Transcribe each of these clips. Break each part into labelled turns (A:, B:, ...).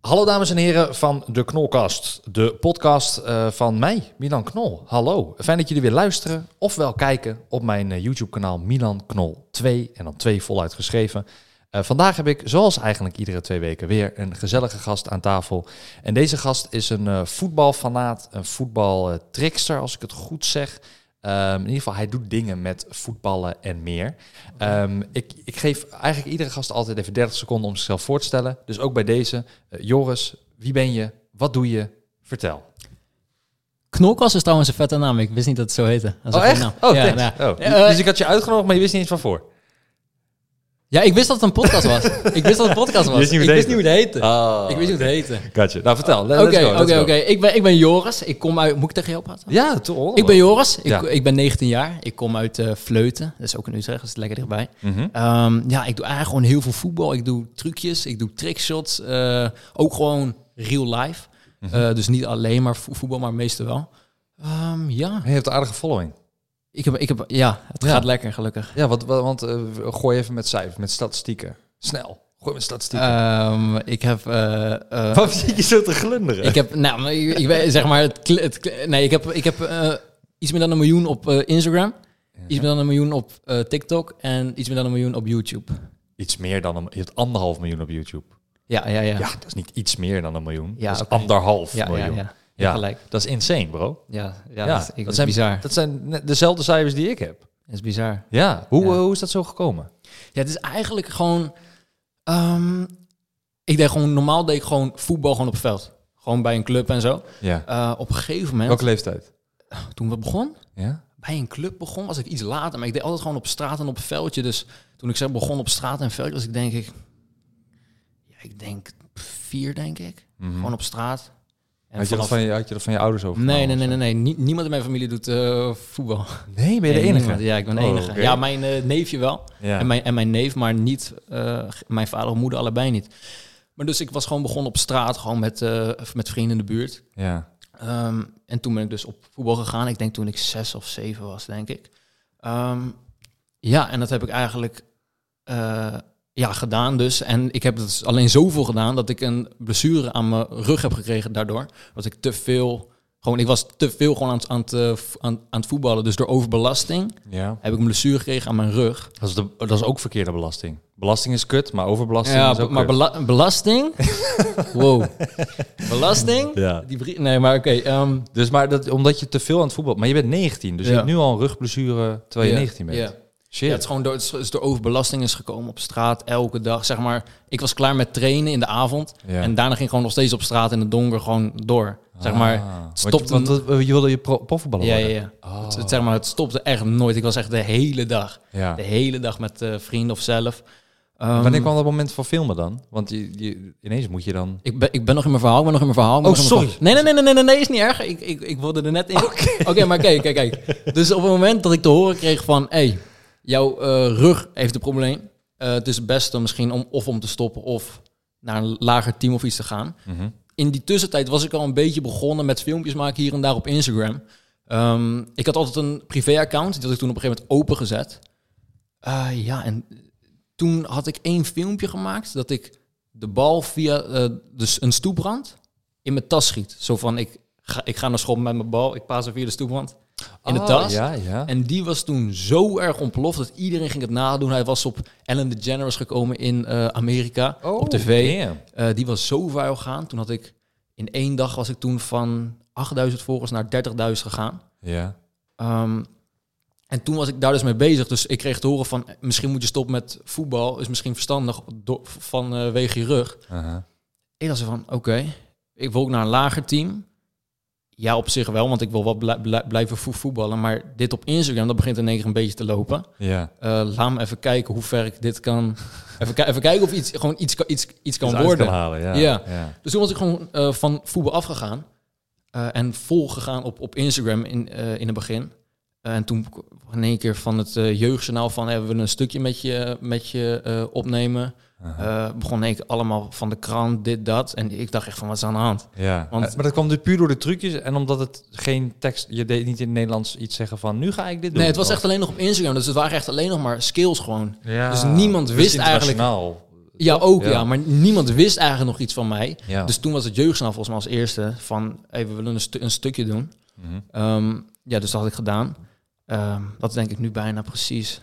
A: Hallo dames en heren van de Knolkast, de podcast eh, van mij, Milan Knol. Hallo, fijn dat jullie weer luisteren ofwel kijken op mijn eh, YouTube-kanaal Milan Knol 2 en dan 2 voluit geschreven. Eh, vandaag heb ik, zoals eigenlijk iedere twee weken, weer een gezellige gast aan tafel. En deze gast is een eh, voetbalfanaat, een voetbaltrickster, als ik het goed zeg. Ehm, in ieder geval, hij doet dingen met voetballen en meer. Ehm, ik, ik geef eigenlijk iedere gast altijd even 30 seconden om zichzelf voor te stellen. Dus ook bij deze. Eh, Joris, wie ben je? Wat doe je? Vertel.
B: Knolkast is trouwens een vette naam. Ik wist niet dat het zo heette. Dat is
A: oh,
B: een
A: echt?
B: naam.
A: Oh,
B: ja,
A: thanks.
B: ja.
A: Oh,
B: Ja, eh,
A: dus ik had je uitgenodigd, maar je wist niet eens van voor.
B: ja, ik wist dat het een podcast was. ik wist dat het een podcast was.
A: wist niet hoe het
B: ik
A: heette.
B: wist niet hoe het heette.
A: Oh,
B: ik wist niet hoe het heette.
A: Gotcha. Nou, vertel. Let- let's
B: Oké,
A: go, let's
B: oké,
A: go.
B: oké. Ik ben, ik ben Joris. Ik kom uit... Moet ik tegen jou praten?
A: Ja, toch?
B: Ik ben Joris. Ik,
A: Ja.
B: ik ben 19 jaar. Ik kom uit eh Vleuten. Dat is ook in Utrecht. Dat is lekker dichtbij.
A: Mhm.
B: Ehm, ja, ik doe eigenlijk gewoon heel veel voetbal. Ik doe trucjes, ik doe trickshots. eh, ook gewoon real life.
A: Mhm.
B: Eh, dus niet alleen maar vo- voetbal, maar meestal wel. Ehm, ja,
A: Je hebt een aardige following.
B: ik heb, ik heb, ja het
A: Ja.
B: gaat lekker, gelukkig.
A: Ja, wat, wat- want eh, gooi even met cijfers, met statistieken. Snel. Gooi met statistieken.
B: Ehm, ik heb. eh, eh,
A: Waarom zit je zo te glunderen?
B: ik heb. Nou, maar ik, ik weet, zeg maar. Het, kle- het kle- nee, ik heb, ik heb eh, iets meer dan een miljoen op eh, Instagram. Iets meer dan een miljoen op eh, TikTok. En iets meer dan een miljoen op YouTube.
A: Iets meer dan een... Je hebt anderhalf miljoen op YouTube.
B: Ja, ja, ja.
A: Ja, dat is niet iets meer dan een miljoen.
B: Ja,
A: dat is
B: oké.
A: anderhalf
B: ja, ja,
A: miljoen.
B: ja.
A: Ja.
B: gelijk.
A: Dat is insane, bro.
B: Ja, ja,
A: Ja,
B: dat, ik, dat is
A: zijn,
B: bizar.
A: Dat zijn net dezelfde cijfers die ik heb.
B: Dat is bizar.
A: Ja, hoe,
B: Ja.
A: eh, hoe is dat zo gekomen?
B: Ja, het is eigenlijk gewoon. ehm, ik deed gewoon normaal deed ik gewoon voetbal gewoon op het veld. Gewoon bij een club en zo.
A: Ja.
B: Eh, op een gegeven moment,
A: Welke leeftijd?
B: toen we begonnen,
A: Ja?
B: bij een club begon, was ik iets later. Maar ik deed altijd gewoon op straat en op veldje. Dus toen ik zeg begon op straat en veldje, was ik denk ik... Ja, ik denk vier, denk ik. Gewoon op straat. En
A: Mhm. had, je dat
B: vanaf-
A: van je, had je dat van je ouders over?
B: Nee, nee, nee, nee. nee. Nie- niemand in mijn familie doet eh, voetbal.
A: Nee, ben je de
B: Nee,
A: enige?
B: niemand. Ja, ik ben de
A: Oh,
B: enige.
A: oké.
B: Ja, mijn eh, neefje wel.
A: Ja.
B: En, mijn, en mijn neef, maar niet... eh, g- mijn vader en moeder allebei niet. Maar dus ik was gewoon begonnen op straat, gewoon met, eh, met vrienden in de buurt.
A: Ja.
B: Ehm, en toen ben ik dus op voetbal gegaan. Ik denk toen ik zes of zeven was, denk ik. Ehm, ja, en dat heb ik eigenlijk eh, ja, gedaan dus. En ik heb dus alleen zoveel gedaan dat ik een blessure aan mijn rug heb gekregen daardoor. Dat ik te veel... Gewoon, ik was te veel gewoon aan, het- aan, het, eh, v- aan, aan het voetballen. Dus door overbelasting
A: ja.
B: heb ik een blessure gekregen aan mijn rug.
A: Dat, is de, dat is ook verkeerde belasting. Belasting is kut, maar overbelasting
B: ja,
A: is ook
B: maar
A: kut.
B: bela- belasting? wow. Belasting?
A: Ja.
B: Die brie- nee, maar oké. ehm,
A: Dus maar dat, omdat je te veel aan het voetbal... Maar je bent 19, dus je
B: Ja.
A: hebt nu al een rugblessure terwijl je
B: ja,
A: 19 bent.
B: ja.
A: Shit.
B: Ja, het is gewoon door, het is- het is door overbelasting is gekomen op straat elke dag. Zeg maar, ik was klaar met trainen in de avond.
A: Ja.
B: En daarna ging ik gewoon nog steeds op straat in het donker gewoon door. Zeg maar,
A: Ah, want
B: het stopte...
A: je, Oh. want, dat- je wilde je pro- profvoetballer
B: ja, ja,
A: worden?
B: ja. Het, het- zeg maar, het stopte echt nooit. Ik was echt de hele dag.
A: Ja.
B: De hele dag met eh, vrienden of zelf. Ehm,
A: Wanneer kwam dat moment van filmen dan? Want je, je, ineens moet je dan...
B: ik, ben, ik ben nog in mijn verhaal, ik ben nog in mijn verhaal. ik ben
A: Oh,
B: nog in mijn
A: sorry.
B: verhaal. Nee, nee, nee, nee, nee, nee, is niet erg. Ik, ik, ik wilde er net in. Oké, maar kijk, kijk, kijk. Dus op het moment dat ik te horen kreeg van... hey, jouw eh, rug heeft een probleem. Eh, het is het beste misschien om of om te stoppen... of naar een lager team of iets te gaan.
A: Mhm.
B: In die tussentijd was ik al een beetje begonnen met filmpjes maken... hier en daar op Instagram. Ehm, ik had altijd een privé-account. Die had ik toen op een gegeven moment opengezet. Eh, ja, en toen had ik één filmpje gemaakt dat ik de bal via eh, dus een stoeprand in mijn tas schiet. Zo van, ik ga, ik ga naar school met mijn bal, ik paas hem via de stoeprand in de
A: Ah,
B: tas.
A: Ja, ja.
B: En die was toen zo erg ontploft dat iedereen ging het nadoen. Hij was op Ellen DeGeneres gekomen in eh, Amerika,
A: Oh,
B: op tv.
A: damn.
B: Eh, die was zo vuil gegaan. Toen had ik, in één dag was ik toen van 8000 volgers naar 30.000 gegaan.
A: Ja.
B: Ehm, en toen was ik daar dus mee bezig. Dus ik kreeg te horen van, eh, misschien moet je stoppen met voetbal. Is misschien verstandig do- vanwege je rug.
A: Aha.
B: Ik dacht zo van, oké, ik wil ook naar een lager team. Ja, op zich wel, want ik wil wel blij- blij- blijven vo- voetballen. Maar dit op Instagram, dat begint in één keer een beetje te lopen.
A: Ja.
B: Eh, laat me even kijken hoe ver ik dit kan... Even, ki- even kijken of iets, gewoon iets, kan- iets, iets kan
A: Dus uit
B: worden.
A: halen, ja.
B: Ja.
A: ja.
B: Dus toen was ik gewoon eh, van voetbal afgegaan. eh, en vol gegaan op, op Instagram in, eh, in het begin. Eh, en toen k- in één keer van het eh, jeugdjournaal van... hebben we willen een stukje met je, met je eh, opnemen.
A: Aha.
B: Eh, begon in één keer allemaal van de krant, dit, dat. En ik dacht echt van, wat is aan de hand?
A: Ja.
B: Want-
A: Eh, maar dat kwam dus puur door de trucjes en omdat het geen tekst... Je deed niet in het Nederlands iets zeggen van, nu ga ik dit doen.
B: Nee, het was
A: Of-
B: echt alleen nog op Instagram. Dus het waren echt alleen nog maar skills gewoon.
A: Ja.
B: dus niemand wist
A: internationaal
B: Ja, ook ja.
A: Ja.
B: Maar niemand wist eigenlijk nog iets van mij.
A: Ja.
B: Dus toen was het jeugdjournaal volgens mij als eerste van... Hey, we willen een, stu- een stukje doen.
A: Mhm.
B: Ehm, ja, dus dat had ik gedaan. Ehm, dat denk ik nu bijna precies.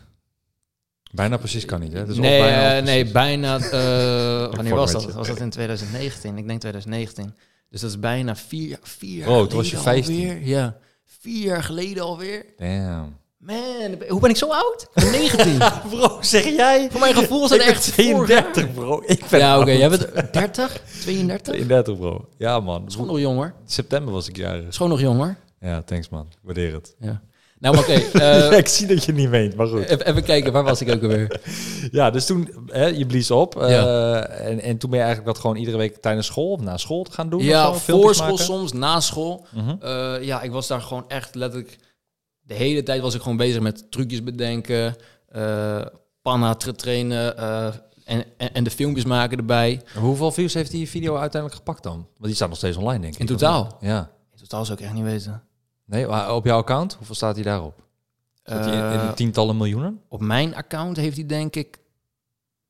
A: Bijna precies kan niet, hè? Dus of
B: nee,
A: bijna of
B: eh,
A: precies.
B: nee, bijna... eh,
A: Ik
B: wanneer
A: vond
B: was
A: het.
B: dat? Was dat in 2019? Ik denk 2019. Dus dat is bijna vier, vier jaar
A: Wow,
B: geleden
A: toen was je 15.
B: alweer. Ja, vier jaar geleden alweer.
A: Damn.
B: Man, hoe ben ik zo oud? Ik ben 19.
A: Bro, zeg jij?
B: Voor mijn gevoel zijn er echt vorig jaar-
A: bro. Ik
B: Ja, oké. jij bent 30, 32?
A: 32, bro. Ja, man.
B: Schoon nog jonger.
A: September was ik jarig.
B: Schoon nog jonger.
A: Ja, thanks, man. Ik Waardeer het.
B: Ja. Nou, maar oké. eh,
A: ik zie dat je het niet meent, maar goed.
B: even, even kijken, waar was ik ook alweer?
A: Ja, dus toen, hè, je blies op. eh,
B: eh, Ja.
A: en, en toen ben je eigenlijk dat gewoon iedere week tijdens school of na school te gaan doen?
B: Ja,
A: of zo, filmpjes
B: voor school
A: maken?
B: soms, na school.
A: Mhm.
B: Eh, ja, ik was daar gewoon echt letterlijk... De hele tijd was ik gewoon bezig met trucjes bedenken, eh panna te trainen eh, en, en, en de filmpjes maken erbij.
A: Hoeveel views heeft die video uiteindelijk gepakt dan? Want die staat nog steeds online, denk ik.
B: In totaal?
A: Ja.
B: In totaal zou ik echt niet weten.
A: Nee, maar op jouw account, hoeveel staat hij daarop? Dat die in, in
B: Eh,
A: tientallen miljoenen?
B: op mijn account heeft hij denk ik...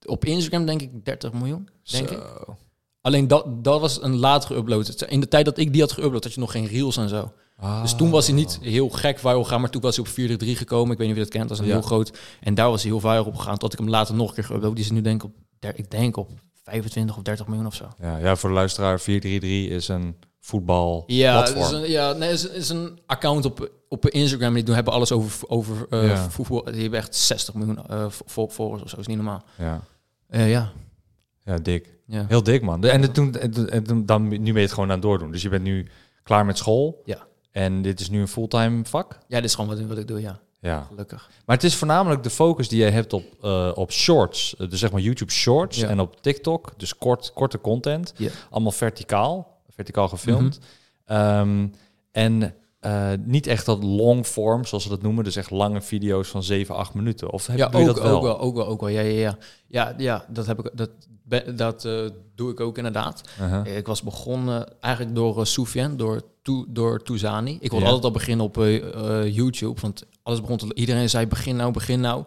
B: Op Instagram denk ik 30 miljoen, denk ik.
A: Zo.
B: Alleen dat, dat was een latere upload. In de tijd dat ik die had geüpload, had je nog geen reels en zo.
A: Ah.
B: Dus toen was hij niet heel gek viral gegaan, maar toen was hij op 433 gekomen. Ik weet niet of je dat kent, dat is een
A: Ja.
B: heel groot. En daar was hij heel viral op gegaan, tot ik hem later nog een keer geüpload. Die zit nu denk ik op, der- ik denk op 25 of 30 miljoen of zo.
A: Ja, ja, voor de luisteraar, 433 is een
B: Ja, het
A: voetbalplatform.
B: is een, ja nee, het is, het is een account op, op Instagram. Die doen, hebben alles over, over eh,
A: Ja.
B: voetbal. Die hebben echt 60 miljoen eh, vo- vo- volgers of zo. is niet normaal.
A: ja.
B: Eh, ja.
A: ja, dik.
B: ja.
A: Heel dik, man. En, toen, en, toen- en toen- dan, nu ben je het gewoon aan het doordoen. Dus je bent nu klaar met school.
B: Ja.
A: En dit is nu een fulltime vak.
B: Ja, dit is gewoon wat, wat ik doe, ja.
A: Ja.
B: Gelukkig.
A: Maar het is voornamelijk de focus die je hebt op, eh, op shorts. Eh, dus zeg maar YouTube shorts
B: Ja.
A: en op TikTok. Dus kort, korte content.
B: Ja.
A: Allemaal verticaal. Verticaal gefilmd.
B: Mhm.
A: Ehm, en eh, niet echt dat long form, zoals ze dat noemen. Dus echt lange video's van 7, 8 minuten. Of heb,
B: Ja,
A: doe
B: ook,
A: je dat wel?
B: ook wel, ook wel, ook wel. Ja, ja, ja. Ja, ja dat, heb ik, dat, be- dat eh, doe ik ook inderdaad.
A: Uh-huh.
B: Ik was begonnen eigenlijk door eh, Soufiane, door, Tou- door Touzani. Ik
A: Ja.
B: wilde altijd al beginnen op eh, eh, YouTube, want alles begon te... Iedereen zei begin nou, begin nou.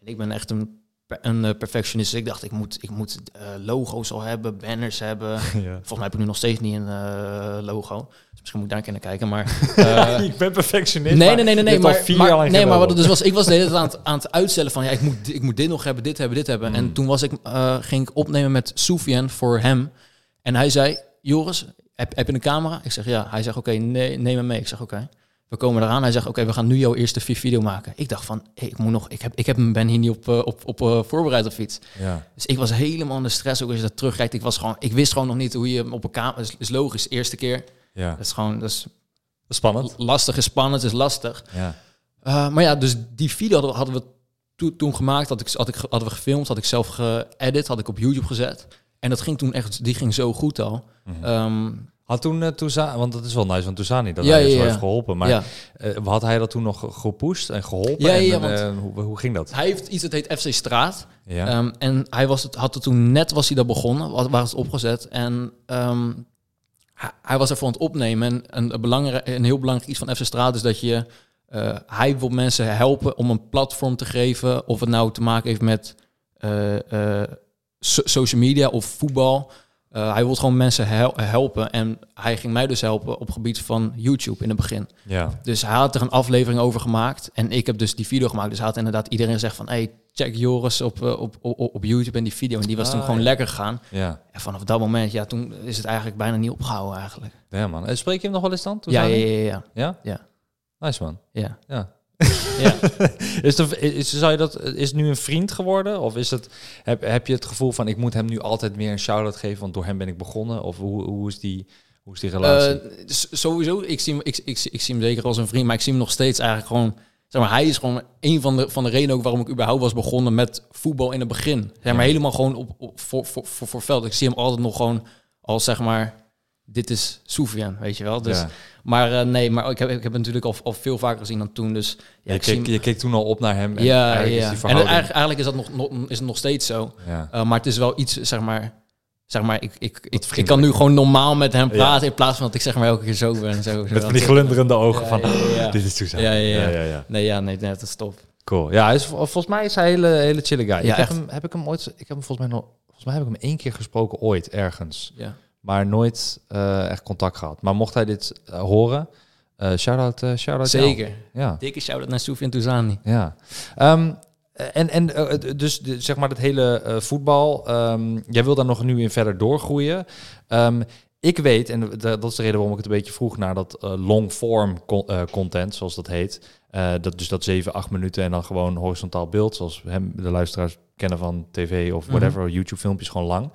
B: En ik ben echt een, per- een eh, perfectionist. Dus ik dacht, ik moet, ik moet eh, logo's al hebben, banners hebben.
A: ja.
B: Volgens mij heb ik nu nog steeds niet een eh, logo. Dus misschien moet ik daar een keer naar kijken, maar... eh,
A: ik ben perfectionist.
B: Nee, nee, nee, nee, nee.
A: maar,
B: Maar, maar- nee, maar wat het dus was, ik was de hele tijd aan het, aan het uitstellen van ja, ik moet, di- ik moet dit nog hebben, dit hebben, dit hebben. En toen was ik, eh, ging ik opnemen met Soufian voor hem. En hij zei: Joris, heb, heb je een camera? Ik zeg ja. Hij zegt: Oké, nee, neem hem mee. Ik zeg: Oké. We komen eraan. Hij zegt: Oké, we gaan nu jouw eerste vi- video maken. Ik dacht van, hey, ik moet nog, ik heb, ik heb hem ben hier niet op, eh, op, op eh, voorbereid of iets.
A: Ja.
B: Dus ik was helemaal in de stress. Ook als je dat terugkijkt, ik was gewoon, ik wist gewoon nog niet hoe je hem op een camera. Is, is logisch, eerste keer.
A: ja.
B: Dat is gewoon, dat is
A: Spannend.
B: lastig, is spannend, is lastig.
A: Ja.
B: Eh, maar ja, dus die video hadden we, hadden we toe- toen gemaakt, had ik, had ik, ge- hadden we gefilmd, had ik zelf geëdit, had ik op YouTube gezet. En dat ging toen echt, die ging zo goed al.
A: Mhm.
B: Ehm,
A: Had toen eh, Touzani, want dat is wel nice van Touzani, dat
B: Ja,
A: hij
B: ja,
A: zo
B: ja.
A: heeft geholpen. Maar
B: ja.
A: eh, had hij dat toen nog gepusht en geholpen?
B: Ja, ja,
A: en,
B: ja,
A: eh,
B: want-
A: hoe, hoe ging dat?
B: Hij heeft iets dat heet FC Straat.
A: Ja.
B: Ehm, en hij was het, had het toen net, was hij daar begonnen, wa- waren het opgezet. En ehm, hij, hij was ervoor aan het opnemen. En een, een, belangrijk, een heel belangrijk iets van FC Straat is dat je... eh, hij wil mensen helpen om een platform te geven. Of het nou te maken heeft met eh, eh, so- social media of voetbal. Eh, hij wil gewoon mensen hel- helpen. En hij ging mij dus helpen op gebied van YouTube in het begin.
A: ja.
B: Dus hij had er een aflevering over gemaakt. En ik heb dus die video gemaakt. Dus hij had inderdaad iedereen gezegd van... Hey, check Joris op, eh, op, op, op YouTube en die video. En die was toen
A: Ah,
B: gewoon
A: ja.
B: lekker gegaan.
A: Ja.
B: En vanaf dat moment, ja, toen is het eigenlijk bijna niet opgehouden eigenlijk.
A: Ja, man. Eh, Spreek je hem nog wel eens dan?
B: Ja,
A: Touzani?
B: ja, ja, ja.
A: Ja?
B: Ja.
A: Nice, man.
B: ja.
A: Ja.
B: Ja.
A: Is, de, is, zou je dat, is het nu een vriend geworden? Of is het, heb, heb je het gevoel van, ik moet hem nu altijd meer een shout-out geven, want door hem ben ik begonnen? Of hoe, hoe, is, die, hoe is die relatie?
B: Eh, s- sowieso, ik zie, hem, ik, ik, ik zie hem zeker als een vriend, maar ik zie hem nog steeds eigenlijk gewoon... Zeg maar, hij is gewoon een van de, van de redenen ook waarom ik überhaupt was begonnen met voetbal in het begin. Zeg maar,
A: Ja.
B: helemaal gewoon op, op, voor, voor, voor, voor veld. Ik zie hem altijd nog gewoon als, zeg maar, dit is Soufian, weet je wel. Dus,
A: Ja.
B: Maar eh, nee, maar ik heb, ik heb hem natuurlijk al, al veel vaker gezien dan toen. Dus ja,
A: je,
B: ik zie
A: keek,
B: hem-
A: je keek toen al op naar hem. En
B: ja,
A: eigenlijk
B: ja.
A: Is die
B: en
A: verhouding,
B: eigenlijk, eigenlijk is dat nog, nog, is het nog steeds zo.
A: ja.
B: Uh, maar het is wel iets, zeg maar. Zeg maar, ik, ik, ik, ik kan nu gewoon normaal met hem praten in plaats van dat ik zeg maar elke keer zo ben. en Zo,
A: Met van die glunderende ogen van,
B: Ja, ja, ja.
A: dit is Toezani.
B: Ja, ja, ja.
A: ja, ja.
B: Nee, ja, nee, nee, dat is top.
A: Cool. Ja, hij is, vol- volgens mij is hij een hele, hele chille guy.
B: Ja,
A: ik heb
B: echt.
A: hem, heb ik hem ooit... Ik heb hem volgens mij nog... Volgens mij heb ik hem één keer gesproken ooit ergens.
B: Ja.
A: Maar nooit eh, echt contact gehad. Maar mocht hij dit eh, horen, eh shout-out. eh, shout-out jou.
B: Zeker.
A: Ja.
B: Dikke shout-out naar Soufiane Touzani.
A: Ja. Ehm, en en eh, d- dus de- zeg maar dat hele eh, voetbal. ehm, jij wil daar nog nu in verder doorgroeien. Ehm, ik weet, en d- dat is de reden waarom ik het een beetje vroeg naar dat eh, long-form con- eh, content, zoals dat heet. Eh, dat, dus dat 7, 8 minuten en dan gewoon horizontaal beeld, zoals hem, de luisteraars kennen van tv of whatever, YouTube-filmpjes gewoon lang.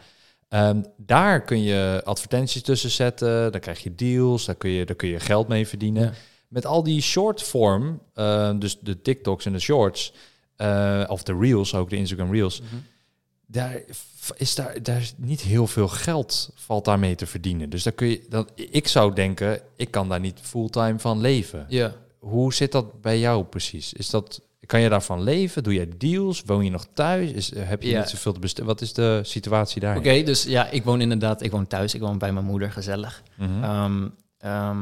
A: Ehm, daar kun je advertenties tussen zetten, daar krijg je deals, daar kun je, daar kun je geld mee verdienen.
B: Ja.
A: Met al die short form, eh, dus de TikToks en de shorts, eh, of de Reels, ook de Instagram Reels,
B: Mhm.
A: daar f- is daar, daar is niet heel veel geld valt daarmee te verdienen. Dus daar kun je, dat, ik zou denken, ik kan daar niet fulltime van leven.
B: Ja.
A: Hoe zit dat bij jou precies? Is dat, kan je daarvan leven? Doe jij deals? Woon je nog thuis? Is, eh, heb je
B: Ja.
A: niet zoveel te besteden? Wat is de situatie daar?
B: Oké, dus ja, ik woon inderdaad, ik woon thuis, ik woon bij mijn moeder, gezellig.
A: Mhm.
B: Ehm, ehm,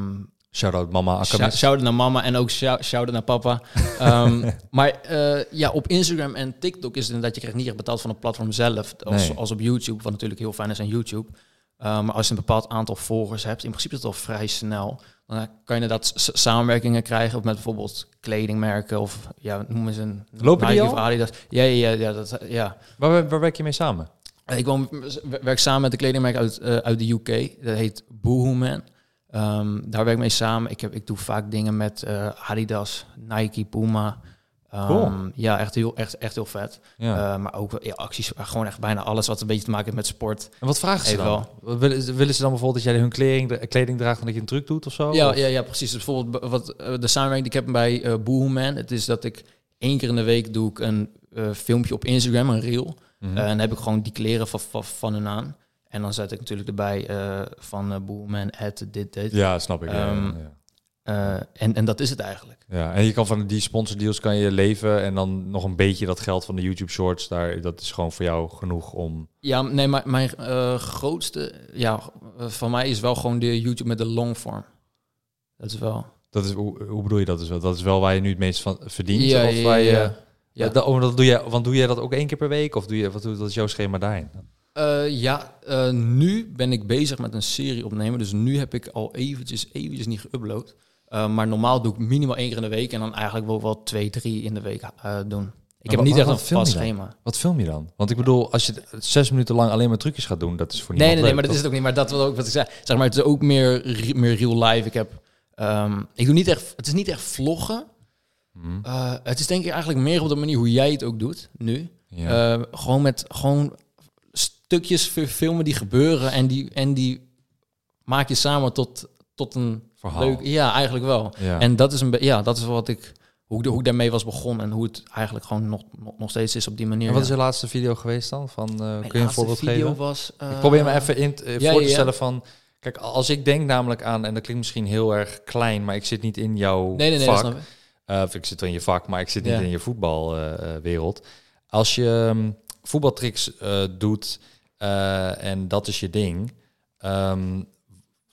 A: Shout-out mama
B: Shou-
A: Akamis.
B: Shout-out naar mama en ook shou- shout-out naar papa. Ehm, maar eh, ja, op Instagram en TikTok is het inderdaad... je krijgt niet echt betaald van het platform zelf. Als,
A: Nee.
B: als op YouTube, wat natuurlijk heel fijn is aan YouTube. Ehm, maar als je een bepaald aantal volgers hebt... in principe is dat al vrij snel. Dan eh, kan je inderdaad s- samenwerkingen krijgen... met bijvoorbeeld kledingmerken of ja, noemen ze een...
A: Lopen die
B: Nike
A: al?
B: Of Adidas. Ja, ja, ja, ja, dat, ja.
A: Waar, waar werk je mee samen?
B: Ik woon, werk samen met een kledingmerk uit, eh, uit de UK. Dat heet Boohoo Man. Ehm, daar werk ik mee samen. Ik, heb, ik doe vaak dingen met eh, Adidas, Nike, Puma. Ehm,
A: Cool.
B: Ja, echt heel, echt, echt heel vet.
A: Ja.
B: Eh, maar ook wel, ja, acties, eh, gewoon echt bijna alles wat een beetje te maken heeft met sport.
A: en wat vragen ze
B: even
A: dan? Willen, ze- willen ze dan bijvoorbeeld dat jij hun kleding, kleding draagt en dat je een truc doet of zo?
B: Ja,
A: Of-
B: ja, ja, precies. Dus bijvoorbeeld b- wat, eh, de samenwerking die ik heb bij eh Boohoo Man. Het is dat ik één keer in de week doe ik een eh, filmpje op Instagram, een reel.
A: Mhm.
B: Eh, en dan heb ik gewoon die kleren van, van, van hun aan. En dan zet ik natuurlijk erbij eh, van eh Boeman, het, dit, dit.
A: ja, snap ik. ja,
B: Ehm,
A: ja.
B: Eh, en, en dat is het eigenlijk.
A: Ja, en je kan van die sponsordeals kan je leven en dan nog een beetje dat geld van de YouTube Shorts daar, dat is gewoon voor jou genoeg om.
B: Ja, nee, maar mijn eh, grootste... Ja, eh, van mij is wel gewoon de YouTube met de longform. Dat is wel...
A: Dat is hoe, hoe bedoel je dat dus wel? Dat is wel waar je nu het meest van verdient.
B: ja,
A: of waar je,
B: ja. ja.
A: Dat, oh, dat doe jij, want doe jij dat ook één keer per week of doe je wat doe- dat is jouw schema daarin?
B: Eh, ja, eh, nu ben ik bezig met een serie opnemen. Dus nu heb ik al eventjes, eventjes niet geüpload. Eh, maar normaal doe ik minimaal één keer in de week. En dan eigenlijk wil ik wel twee, drie in de week eh, doen. Ik heb
A: wa-
B: niet
A: wa-
B: echt een
A: wat film je
B: vast
A: dan?
B: schema.
A: Wat film je dan? Want ik bedoel, als je d- zes minuten lang alleen maar trucjes gaat doen, dat is voor
B: Nee,
A: niemand
B: nee, nee, maar
A: leuk,
B: dat is het ook niet. Maar dat was ook wat ik zei. Zeg maar, het is ook meer, re- meer real life. Ik heb, ehm, ik doe niet echt, het is niet echt vloggen.
A: toch? Mhm.
B: Eh, het is denk ik eigenlijk meer op de manier hoe jij het ook doet nu.
A: Ja.
B: Eh, gewoon met gewoon stukjes fi- filmen die gebeuren en die, en die maak je samen tot, tot een
A: Verhaal.
B: leuk. Ja, eigenlijk wel.
A: Ja.
B: En dat is een be- ja, dat is wat ik hoe, ik- hoe ik daarmee was begonnen en hoe het eigenlijk gewoon nog, nog, nog steeds is op die manier.
A: En wat is
B: ja.
A: je laatste video geweest dan? Van, eh,
B: Mijn
A: kun je een
B: laatste
A: voorbeeld
B: video
A: geven?
B: Was, eh,
A: Ik probeer me even in, t- eh,
B: ja,
A: voor
B: ja,
A: te
B: ja.
A: stellen van... Kijk, als ik denk namelijk aan... En dat klinkt misschien heel erg klein, maar ik zit niet in jouw
B: Nee, nee, nee, dat
A: vak.
B: snap ik.
A: Eh, of ik zit wel in je vak, maar ik zit niet
B: Ja.
A: in je voetbalwereld. als je ehm, voetbaltricks eh, doet eh, en dat is je ding... ehm,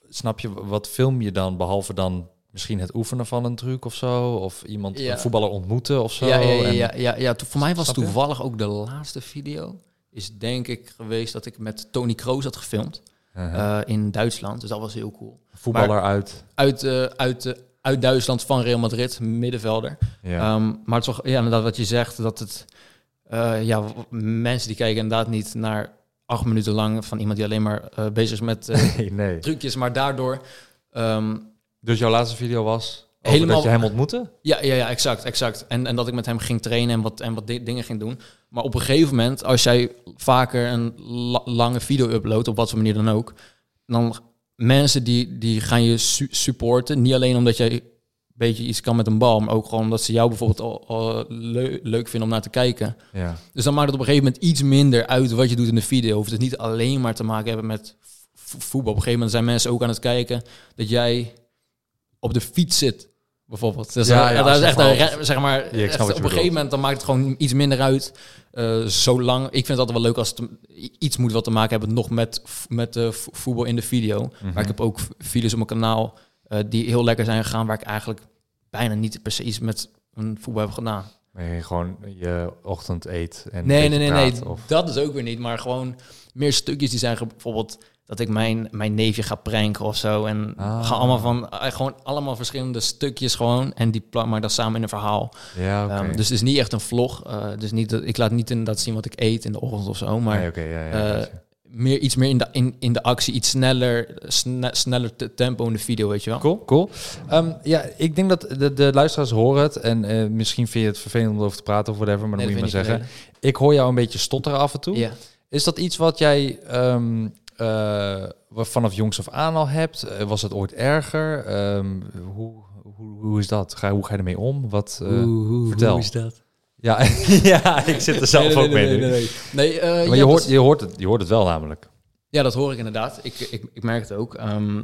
A: snap je, wat film je dan? Behalve dan misschien het oefenen van een truc of zo? Of iemand,
B: Ja.
A: een voetballer ontmoeten of zo?
B: Ja, ja, ja,
A: en-
B: ja, ja, ja. To- voor mij was
A: Snap je?
B: toevallig ook de laatste video. Is denk ik geweest dat ik met Tony Kroos had gefilmd
A: Uh-huh.
B: eh, in Duitsland. Dus dat was heel cool.
A: voetballer uit.
B: Uit, eh, uit, eh, uit Duitsland van Real Madrid, middenvelder.
A: Ja.
B: Ehm, maar toch, ja, inderdaad, wat je zegt, dat het. eh, ja, w- mensen die kijken inderdaad niet naar acht minuten lang van iemand die alleen maar eh, bezig is met eh,
A: nee, nee.
B: trucjes, maar daardoor. ehm,
A: Dus jouw laatste video was... over
B: Helemaal-
A: Dat je hem ontmoette?
B: Ja, ja, ja, exact, exact. En, en dat ik met hem ging trainen en wat, en wat di- dingen ging doen. Maar op een gegeven moment, als jij vaker een la- lange video uploadt, op wat voor manier dan ook, dan mensen die, die gaan je su- supporten. Niet alleen omdat jij een beetje iets kan met een bal, maar ook gewoon omdat ze jou bijvoorbeeld al, al leu- leuk vinden om naar te kijken.
A: Ja.
B: Dus dan maakt het op een gegeven moment iets minder uit wat je doet in de video. Hoeft het niet alleen maar te maken hebben met vo- voetbal. Op een gegeven moment zijn mensen ook aan het kijken dat jij op de fiets zit, bijvoorbeeld. Dus
A: Ja,
B: ja,
A: ja,
B: dat is
A: zeg
B: echt
A: maar.
B: een, re- zeg maar,
A: Ja, ik snap wat
B: echt
A: je
B: op een
A: bedoelt.
B: gegeven moment dan maakt het gewoon iets minder uit. Eh, zolang, ik vind het altijd wel leuk als het te- iets moet wat te maken hebben nog met, v- met eh, vo- voetbal in de video.
A: Mhm.
B: Maar ik heb ook v- video's op mijn kanaal eh, die heel lekker zijn gegaan, waar ik eigenlijk bijna niet per se iets met een voetbal heb gedaan.
A: Waarin je gewoon je ochtend eet en een
B: Nee,
A: beetje
B: nee, nee,
A: praat,
B: nee.
A: Of,
B: Dat is ook weer niet. Maar gewoon meer stukjes die zijn ge- bijvoorbeeld dat ik mijn, mijn neefje ga pranken of zo. En
A: Ah.
B: ga allemaal van, eh, gewoon allemaal verschillende stukjes gewoon. En die plak maar dat samen in een verhaal.
A: ja, oké.
B: Ehm, dus het is niet echt een vlog. Eh, dus niet, dat- ik laat niet inderdaad zien wat ik eet in de ochtend of zo. Maar
A: Nee, oké, ja, ja,
B: eh,
A: weet je.
B: meer, iets meer in de, in, in de actie. Iets sneller, sne- sneller te- tempo in de video, weet je wel.
A: Cool, cool. Ehm, ja, ik denk dat de, de luisteraars horen het. En eh, misschien vind je het vervelend om erover te praten of whatever. Maar dan
B: Nee,
A: moet je
B: dat
A: maar
B: vind
A: zeggen.
B: ik
A: Ik hoor jou een beetje stotteren af en toe.
B: Ja.
A: Is dat iets wat jij ehm, eh, wat vanaf jongs af aan al hebt? Eh, Was het ooit erger? Ehm, hoe, hoe, hoe is dat? Ga, hoe ga je ermee om? Wat, eh, vertel.
B: Hoe is dat?
A: ja, ja, ik zit er zelf
B: Nee, nee,
A: ook mee
B: nee,
A: nu.
B: nee, nee. Nee, eh, ja,
A: Maar je
B: dat
A: hoort,
B: is-
A: je, hoort het, je hoort het wel namelijk.
B: Ja, dat hoor ik inderdaad. Ik, ik, ik merk het ook. Ehm,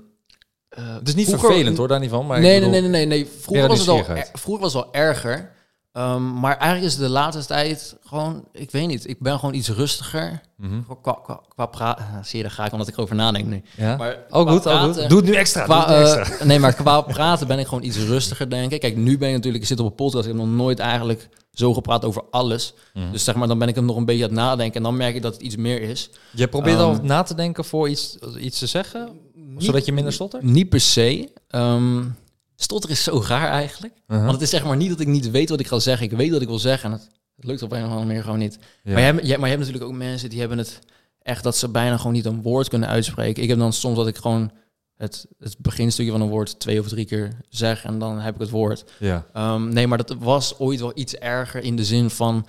B: eh,
A: Het is niet
B: vroeger-
A: vervelend hoor, daar niet van. Maar ik
B: nee,
A: bedoel-
B: nee, nee, nee, nee.
A: meer
B: Vroeger was het al,
A: nieuwsgierigheid.
B: er- vroeger was het wel erger. Ehm, maar eigenlijk is de laatste tijd gewoon, ik weet niet, ik ben gewoon iets rustiger.
A: Mhm.
B: Gewoon Qua, qua, qua praten, zie je, daar ga ik omdat ik erover nadenk nu.
A: Ja?
B: Maar
A: ook
B: qua
A: goed, ook
B: praten-
A: goed. Doe het nu extra.
B: Qua,
A: doe het nu
B: eh,
A: extra.
B: nee, maar qua praten ben ik gewoon iets rustiger, denk ik. Kijk, nu ben ik natuurlijk, ik zit op een podcast, ik heb nog nooit eigenlijk zo gepraat over alles.
A: Mhm.
B: Dus zeg maar, dan ben ik hem nog een beetje aan het nadenken en dan merk ik dat het iets meer is.
A: je probeert
B: ehm,
A: al na te denken voor iets, iets te zeggen, zodat je minder stottert?
B: Niet per se. Ehm stotter is zo raar eigenlijk.
A: Uh-huh.
B: Want het is zeg maar niet dat ik niet weet wat ik ga zeggen. Ik weet wat ik wil zeggen. En het, het lukt op een of andere manier gewoon niet.
A: Ja.
B: Maar, je hebt, je- maar je hebt natuurlijk ook mensen die hebben het echt dat ze bijna gewoon niet een woord kunnen uitspreken. Ik heb dan soms dat ik gewoon het, het beginstukje van een woord twee of drie keer zeg en dan heb ik het woord.
A: Ja.
B: Ehm, nee, maar dat was ooit wel iets erger in de zin van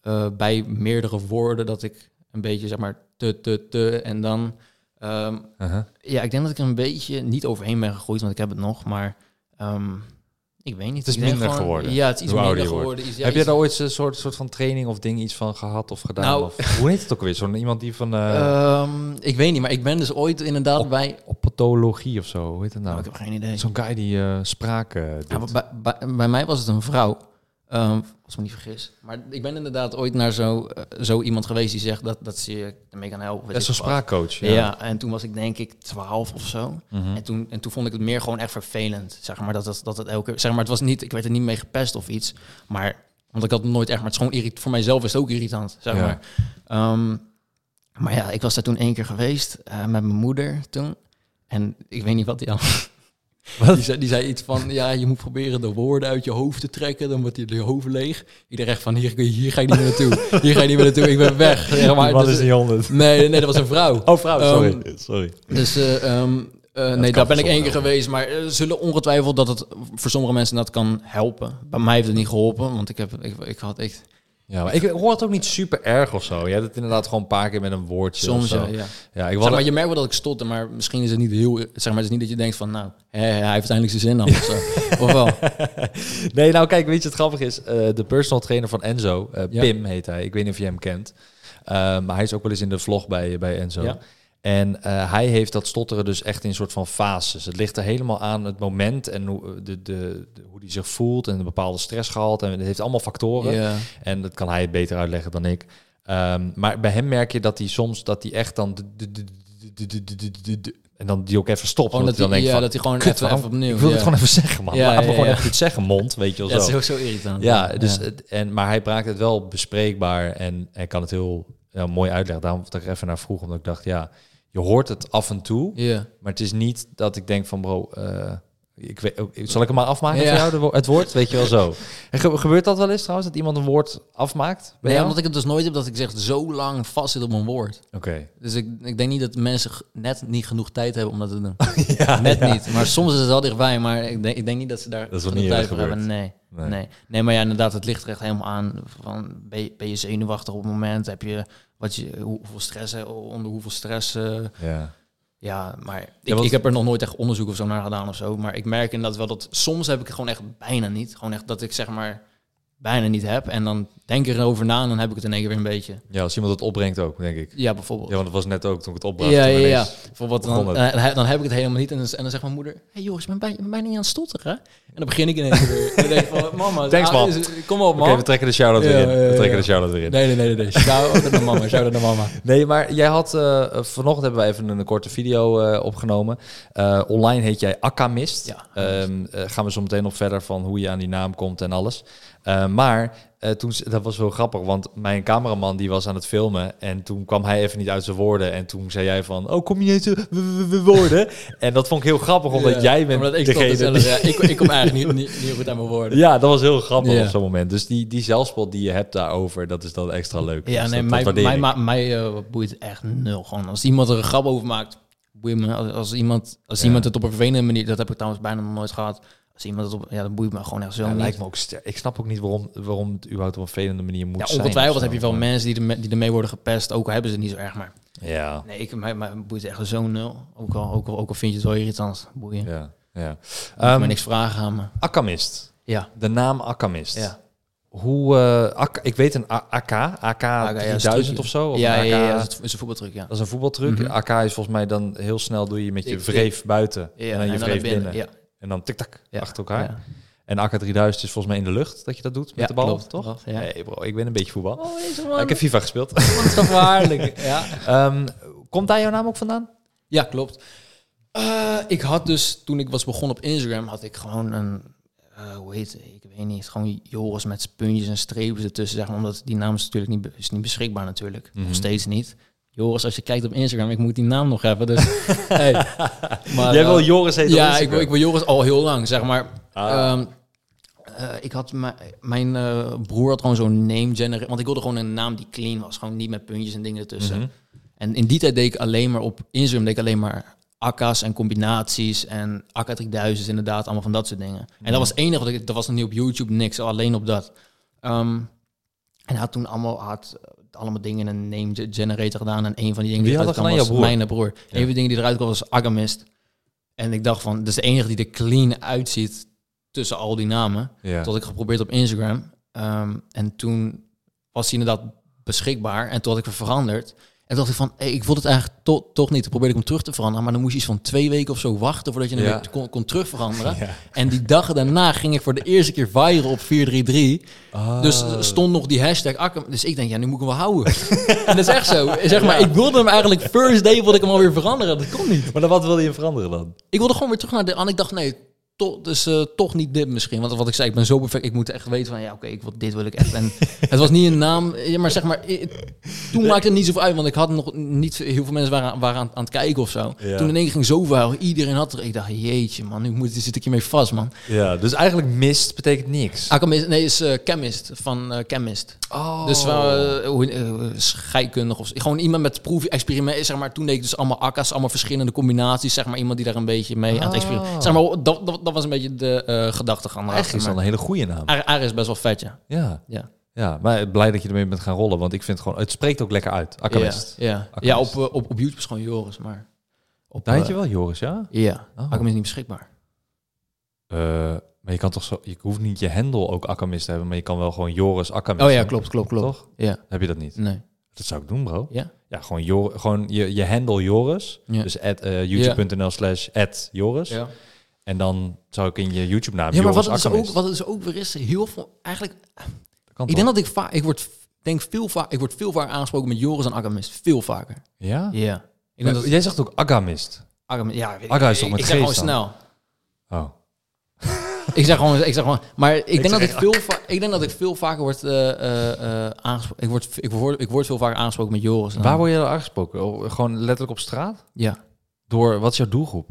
B: eh, bij meerdere woorden dat ik een beetje zeg maar te, te, te en dan ehm,
A: Uh-huh.
B: ja, ik denk dat ik er een beetje niet overheen ben gegroeid, want ik heb het nog, maar ehm, ik weet niet.
A: is
B: Ik denk
A: minder geworden,
B: Ja, het is iets
A: hoe ouder
B: minder
A: je wordt.
B: geworden. Iets, ja,
A: Heb jij
B: iets-
A: daar ooit een soort, soort van training of ding iets van gehad of gedaan?
B: Nou-
A: of, hoe heet het ook weer? Zo'n iemand die van eh
B: Ehm, ik weet niet, maar ik ben dus ooit inderdaad bij...
A: opatologie of zo, hoe heet het nou?
B: Oh, ik heb geen idee.
A: Zo'n guy die eh spraken doet.
B: Ja, maar bij, bij, bij mij was het een vrouw, ehm, als ik me niet vergis. Maar ik ben inderdaad ooit naar zo, eh, zo iemand geweest die zegt dat, dat ze je ermee kan helpen. weet
A: Ja,
B: ik
A: zo'n
B: wat.
A: spraakcoach. Ja.
B: Ja. en toen was ik denk ik 12 of zo.
A: Mhm.
B: En, toen, en toen vond ik het meer gewoon echt vervelend. Zeg maar dat, dat, dat het elke zeg maar, het was niet, ik werd er niet mee gepest of iets. Maar, want ik had het nooit echt, maar het is gewoon irrit, voor mijzelf is het ook irritant. Zeg
A: Ja.
B: maar. Ehm, maar ja, ik was daar toen één keer geweest eh, met mijn moeder toen. En ik weet niet wat die aan. Die zei, die zei iets van, ja, je moet proberen de woorden uit je hoofd te trekken, dan wordt je je hoofd leeg. Iedereen echt van, hier, hier ga ik niet meer naartoe, hier ga ik niet meer naartoe, ik ben weg. Zeg maar,
A: Wat
B: dus-
A: is niet honderd?
B: nee, nee, dat was een vrouw.
A: Oh, vrouw, sorry.
B: Ehm,
A: sorry.
B: Dus eh, ehm, eh, nee, daar
A: kan
B: ben ik één
A: soms
B: keer
A: wel.
B: geweest. Maar eh, zullen ongetwijfeld dat het voor sommige mensen dat kan helpen. Bij mij heeft het niet geholpen, want ik, heb, ik, ik had echt...
A: Ja, maar ik hoor het ook niet super erg of zo. Je hebt het inderdaad gewoon een paar keer met een woordje of
B: Soms,
A: zo.
B: ja. ja.
A: Ja, ik
B: Zeg
A: was
B: maar, je merkt wel dat ik stotte, maar misschien is het niet heel... Zeg maar, het is niet dat je denkt van, nou, hè, hè, hij heeft eindelijk zijn zin dan. Of, zo. of wel?
A: Nee, nou kijk, weet je het grappig is? Eh, de personal trainer van Enzo, eh,
B: Ja.
A: Pim heet hij. Ik weet niet of je hem kent. Eh, maar hij is ook wel eens in de vlog bij, bij Enzo.
B: Ja.
A: En eh, hij heeft dat stotteren dus echt in een soort van fases. Het ligt er helemaal aan het moment en hoe, eh, de, de, de- hoe die zich voelt en een bepaalde stressgehalte. En het heeft allemaal factoren.
B: Ja.
A: En dat kan hij beter uitleggen dan ik. Ehm, maar bij hem merk je dat hij soms dat hij echt dan. de- de- de- de- de- de- de- de- de- de- En dan die ook even stopt.
B: Gewoon
A: omdat
B: dat,
A: hij dan
B: hij,
A: denkt
B: ja,
A: van,
B: dat hij gewoon
A: "Kut,
B: even,
A: waarom-
B: even opnieuw...
A: ik wil
B: ja.
A: het gewoon even zeggen, man.
B: Ja,
A: Laat me
B: ja,
A: gewoon
B: ja.
A: even iets zeggen, mond, weet je wel
B: Ja, dat
A: zo.
B: is ook zo irritant.
A: Ja, dus
B: Ja.
A: Het, en, maar hij maakt het wel bespreekbaar en hij kan het heel ja, mooi uitleggen. Daarom dat ik er even naar vroeg, omdat ik dacht, ja, je hoort het af en toe.
B: Ja.
A: Maar het is niet dat ik denk van, bro, eh, ik weet, ook- zal ik hem maar afmaken
B: Ja.
A: voor jou, de wo- het woord? Weet je wel zo. En ge- gebeurt dat wel eens trouwens, dat iemand een woord afmaakt? bij
B: Nee,
A: jou?
B: omdat ik het dus nooit heb dat ik zeg zo lang vastzit op mijn woord.
A: Oké.
B: Dus ik, ik denk niet dat mensen g- net niet genoeg tijd hebben om dat te doen.
A: ja,
B: Net
A: ja.
B: niet. Maar soms is het wel dichtbij. Maar ik denk, ik denk niet dat ze daar
A: Dat is wel
B: genoeg
A: niet eerder
B: tijd voor hebben. Nee.
A: Nee.
B: Nee. Nee. maar ja, inderdaad, het ligt er echt helemaal aan. Van, ben, je, ben je zenuwachtig op het moment? Heb je, wat je hoe- hoeveel stress, hè, onder hoeveel stress? eh,
A: Ja.
B: ja, maar ik,
A: want-
B: ik heb er nog nooit echt onderzoek of zo naar gedaan of zo. Maar ik merk inderdaad wel dat soms heb ik het gewoon echt bijna niet. Gewoon echt dat ik zeg maar bijna niet heb. En dan denk ik erover na en dan heb ik het in één keer weer een beetje.
A: ja, als iemand het opbrengt ook, denk ik.
B: Ja, bijvoorbeeld.
A: Ja, want dat was net ook toen ik het opbracht.
B: Ja, ja,
A: toen
B: ja.
A: ineens-
B: Bijvoorbeeld,
A: begon
B: dan, eh, dan heb ik het helemaal niet. En dan, en dan zegt mijn moeder, hey jongens, ik ben bij- ik ben bijna niet aan het stotteren. En dan begin ik ineens weer. En dan denk ik van, mama,
A: Thanks,
B: ah,
A: man.
B: is- kom op
A: Oké,
B: man.
A: we trekken de shout-out
B: Ja,
A: weer in.
B: ja, ja,
A: We trekken de
B: ja.
A: shout-out weer in.
B: nee, nee, nee, nee. Shout out naar mama, shout out naar mama.
A: Nee, maar jij had eh, vanochtend hebben we even een korte video eh, opgenomen. Eh, online heet jij Akka Mist.
B: Ja,
A: Ehm, eh, gaan we zo meteen nog verder van hoe je aan die naam komt en alles. Ehm, Eh, maar eh, toen, ze- dat was wel grappig, want mijn cameraman die was aan het filmen en toen kwam hij even niet uit zijn woorden. En toen zei jij van, oh kom je niet uit de w- w- woorden? en dat vond ik heel grappig, omdat
B: Ja,
A: jij bent
B: omdat ik stond
A: degene
B: er
A: die-
B: zelf- ja, ik, ik kom eigenlijk niet, niet, niet goed aan mijn woorden.
A: Ja, dat was heel grappig
B: Ja.
A: op zo'n moment. Dus die, die zelfspot die je hebt daarover, dat is dan extra leuk.
B: Ja,
A: Dus
B: nee,
A: dat-
B: mij,
A: dat waardeer
B: mij,
A: ik.
B: ma- mij eh, boeit echt nul. Gewoon als iemand er een grap over maakt, boeit me. Als, als iemand, als
A: Ja.
B: iemand het op een vervelende manier, dat heb ik trouwens bijna nog nooit gehad. Als iemand het op, ja, dan boeit me gewoon echt zo
A: Ja,
B: niet.
A: lijkt me ook ster- ik snap ook niet waarom, waarom het überhaupt op een vervelende manier moet
B: ja,
A: zijn.
B: Nou, ongetwijfeld
A: of zo.
B: heb je wel mensen die, er, die ermee worden gepest, ook al hebben ze het niet zo erg, maar
A: Ja,
B: nee, ik, mij, mij boeit echt zo nul. Ook al, ook al, ook al vind je het wel irritant, boeien. Moet
A: ja, ja.
B: je
A: Ehm,
B: me niks vragen aan me.
A: Akkamist.
B: Ja,
A: De naam Akkamist.
B: ja.
A: Hoe, eh, Ak- ik weet een A- AK, AK,
B: ja,
A: 3000 of zo. Of
B: ja,
A: een
B: ja,
A: AK,
B: ja, ja, dat is- is een voetbaltruc, ja.
A: Dat is een voetbaltruc.
B: Mhm.
A: AK is volgens mij dan heel snel doe je met je
B: Ik-
A: wreef buiten
B: ja
A: en dan je
B: naar
A: wreef binnen.
B: Ja,
A: En dan tik-tak
B: ja,
A: achter elkaar.
B: ja.
A: En AK 3000 is volgens mij in de lucht dat je dat doet met
B: Ja,
A: de bal,
B: klopt,
A: toch?
B: klopt, ja.
A: Nee bro, ik ben een beetje voetbal.
B: Oh, is
A: ik heb FIFA gespeeld.
B: gevaarlijk. ja.
A: Ehm, komt daar jouw naam ook vandaan?
B: ja, klopt. Eh, ik had dus, toen ik was begonnen op Instagram, had ik gewoon een, eh, hoe heet het? Ik weet niet, gewoon Joris met zijn puntjes en streepjes ertussen, zeg maar, omdat die naam is natuurlijk niet, be- is niet beschikbaar natuurlijk.
A: Mhm.
B: Nog steeds niet. Joris, als je kijkt op Instagram, ik moet die naam nog hebben, dus... hey. Maar,
A: Jij
B: eh,
A: wil Joris heten op
B: Ja, ik,
A: Instagram.
B: wil- ik wil Joris al heel lang, zeg maar.
A: Ah.
B: Ehm, eh, ik had mijn- mijn eh, broer had gewoon zo'n name generator. Want ik wilde gewoon een naam die clean was. Gewoon niet met puntjes en dingen ertussen.
A: Mhm.
B: En in die tijd deed ik alleen maar op Instagram deed ik alleen maar akka's en combinaties. En akka 3000 inderdaad, allemaal van dat soort dingen. En
A: Mhm.
B: dat was het enige, wat ik, dat was nog niet op YouTube, niks. Alleen op dat. Ehm, en hij had toen allemaal, hij had eh, allemaal dingen in een name ge- generator gedaan. En een van die dingen
A: Wie
B: die
A: had dat
B: eruit kwam
A: gedaan?
B: was
A: Jouw broer?
B: mijn broer. Een van de dingen die eruit kwam was Agamist. En ik dacht van, dat is de enige die er clean uitziet tussen al die namen.
A: Ja.
B: Tot ik geprobeerd op Instagram. Ehm, en toen was hij inderdaad beschikbaar. En toen had ik hem veranderd. En toen dacht ik van, hey, ik wil het eigenlijk to- toch niet. Toen probeerde ik hem terug te veranderen. Maar dan moest je iets van twee weken of zo wachten voordat je hem
A: Ja.
B: weer kon, kon terugveranderen.
A: Ja.
B: En die dag daarna ging ik voor de eerste keer viral op 433.
A: Ah.
B: Dus er stond nog die hashtag Akkem. Dus ik denk, ja, nu moet ik hem wel houden. en dat is echt zo. Zeg maar, ik wilde hem eigenlijk first day wilde ik hem alweer veranderen. Dat kon niet.
A: Maar dan wat wil je veranderen dan?
B: Ik wilde gewoon weer terug naar de aan. Ik dacht, nee, to, dus, eh, toch niet dit misschien. Want wat ik zei, ik ben zo perfect. Ik moet echt weten van, ja, oké, ik wil, dit wil ik echt. En het was niet een naam. eh, Maar zeg maar, eh, toen maakte het niet zoveel uit. Want ik had nog niet... Heel veel mensen waren, waren aan, aan het kijken of zo.
A: Ja.
B: Toen in één keer ging zoveel. huilen, Iedereen had er... Ik dacht, jeetje man, nu moet, zit ik hiermee vast, man.
A: Ja, dus eigenlijk mist betekent niks.
B: Akkem is, nee, is eh, chemist. Van eh, chemist.
A: Oh.
B: Dus eh, hoe- eh, scheikundig of gewoon iemand met proefexperiment. Zeg maar, toen deed ik dus allemaal akka's, allemaal verschillende combinaties. Zeg maar, iemand die daar een beetje mee aan het
A: Ah.
B: experimenteren. Zeg maar, dat, dat, dat was een beetje de eh gedachtegang.
A: Eigenlijk is
B: erachter,
A: dat een
B: maar
A: hele goede naam.
B: Aar- Aar is best wel vet, ja.
A: Ja.
B: Ja,
A: ja, maar blij dat je ermee bent gaan rollen, want ik vind het gewoon, het spreekt ook lekker uit.
B: ja,
A: Akkamist.
B: ja.
A: Akkermest.
B: ja op, eh, op, op YouTube is gewoon Joris, maar... Op,
A: Daar heet
B: eh,
A: je wel Joris, ja?
B: Ja,
A: Oh.
B: Akkermest is niet beschikbaar.
A: Eh, maar je kan toch zo, je hoeft niet je hendel ook akkamist te hebben, maar je kan wel gewoon Joris akkamist.
B: Oh ja,
A: hebben,
B: klopt, klopt, klopt.
A: Toch?
B: Ja,
A: Heb je dat niet?
B: nee.
A: Dat zou ik doen, bro.
B: Ja?
A: Ja, gewoon, Jor, gewoon je, je handle Joris.
B: Ja.
A: Dus at, eh, youtube.nl slash at Joris.
B: Ja.
A: En dan zou ik in je YouTube naam
B: Ja, maar wat
A: Joris
B: het, dus ook,
A: Akkermist.
B: wat het dus ook weer is, heel veel... Eigenlijk
A: Kan
B: Ik
A: toch?
B: denk dat ik vaak, ik word, denk veel vaak, ik word veel vaker aangesproken met Joris en Agamist. Veel vaker.
A: Ja?
B: Ja. Ik
A: Maar
B: denk dat
A: Jij zegt ook Agamist.
B: Agamist, ja. weet
A: Aga
B: ik-
A: is toch
B: ik-
A: met
B: Ik zeg gewoon
A: G's dan?
B: snel.
A: Oh.
B: Ik zeg gewoon, ik zeg gewoon. Maar ik, denk
A: zeg
B: dat ik
A: echt
B: veel, va- ik denk dat ik veel vaker word eh, eh, eh, aangesproken. Ik word, ik word, ik word veel vaker aangesproken met Joris. dan-
A: Waar word je dan aangesproken? Oh, Gewoon letterlijk op straat?
B: Ja.
A: Door, wat is jouw doelgroep?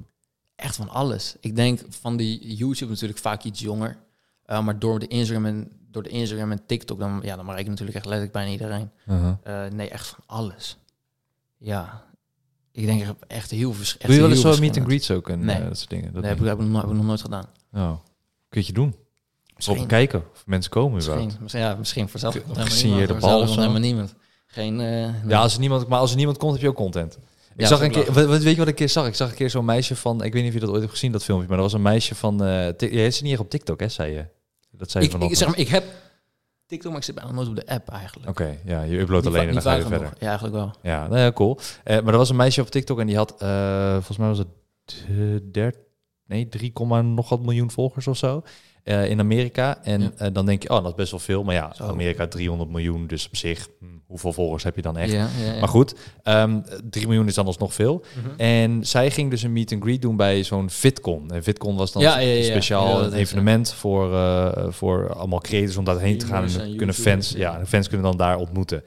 B: Echt van alles. Ik denk van die YouTube natuurlijk vaak iets jonger. Eh, maar door de Instagram en door de Instagram en TikTok dan, ja, dan maak ik natuurlijk echt letterlijk bijna iedereen. Eh, nee, echt van alles. Ja. Ik denk echt- echt heel verschillend.
A: Doe je wel eens zo'n meet and greets ook en
B: Nee.
A: eh, dat soort dingen? Dat
B: Nee, heb ik,
A: niet.
B: heb, ik nog, heb ik nog nooit gedaan.
A: Oh. Kun je het doen? Of
B: Misschien,
A: kijken of mensen komen überhaupt.
B: misschien, misschien, ja, misschien voor zelf.
A: Ge- gesigneerde bal of zo.
B: helemaal niemand. Geen. eh,
A: Ja, als er niemand, maar als er niemand komt, heb je ook content. Ik
B: Ja,
A: zag
B: dat
A: een
B: is ook
A: keer, wat, wat- weet je wat ik een keer zag? Ik zag een keer zo'n meisje van, ik weet niet of je dat ooit hebt gezien, dat filmpje, maar dat was een meisje van, eh Tik- je heet ze niet echt op TikTok, hè, zei je? Dat zei je
B: ik,
A: vanochtend.
B: ik, zeg maar, ik heb TikTok, maar ik zit bijna nooit op de app eigenlijk.
A: Oké, ja, je uploadt
B: Niet
A: alleen
B: va-
A: en dan
B: niet
A: ga je
B: vaak
A: verder.
B: genoeg. Ja, eigenlijk wel.
A: Ja, nou ja, cool. Eh, maar er was een meisje op TikTok en die had, eh, volgens mij was het eh, nee, 3, nog wat miljoen volgers of zo. eh, in Amerika. En
B: Ja.
A: eh, dan denk je, oh, dat is best wel veel. Maar ja,
B: Zo.
A: Amerika 300 miljoen. Dus op zich, hm, hoeveel volgers heb je dan echt?
B: Ja, ja, Mhm. ja.
A: Maar goed, eh, ehm 3 miljoen is dan alsnog veel. En zij ging dus een meet and greet doen bij zo'n VidCon. En VidCon was dan
B: Ja, ja, ja, ja.
A: speciaal
B: Ja, dat
A: een
B: is,
A: evenement voor, eh, voor allemaal creators om daarheen te gaan. En
B: Streamers
A: dan
B: en
A: kunnen
B: YouTubers,
A: fans,
B: ja.
A: ja, de fans kunnen dan daar ontmoeten.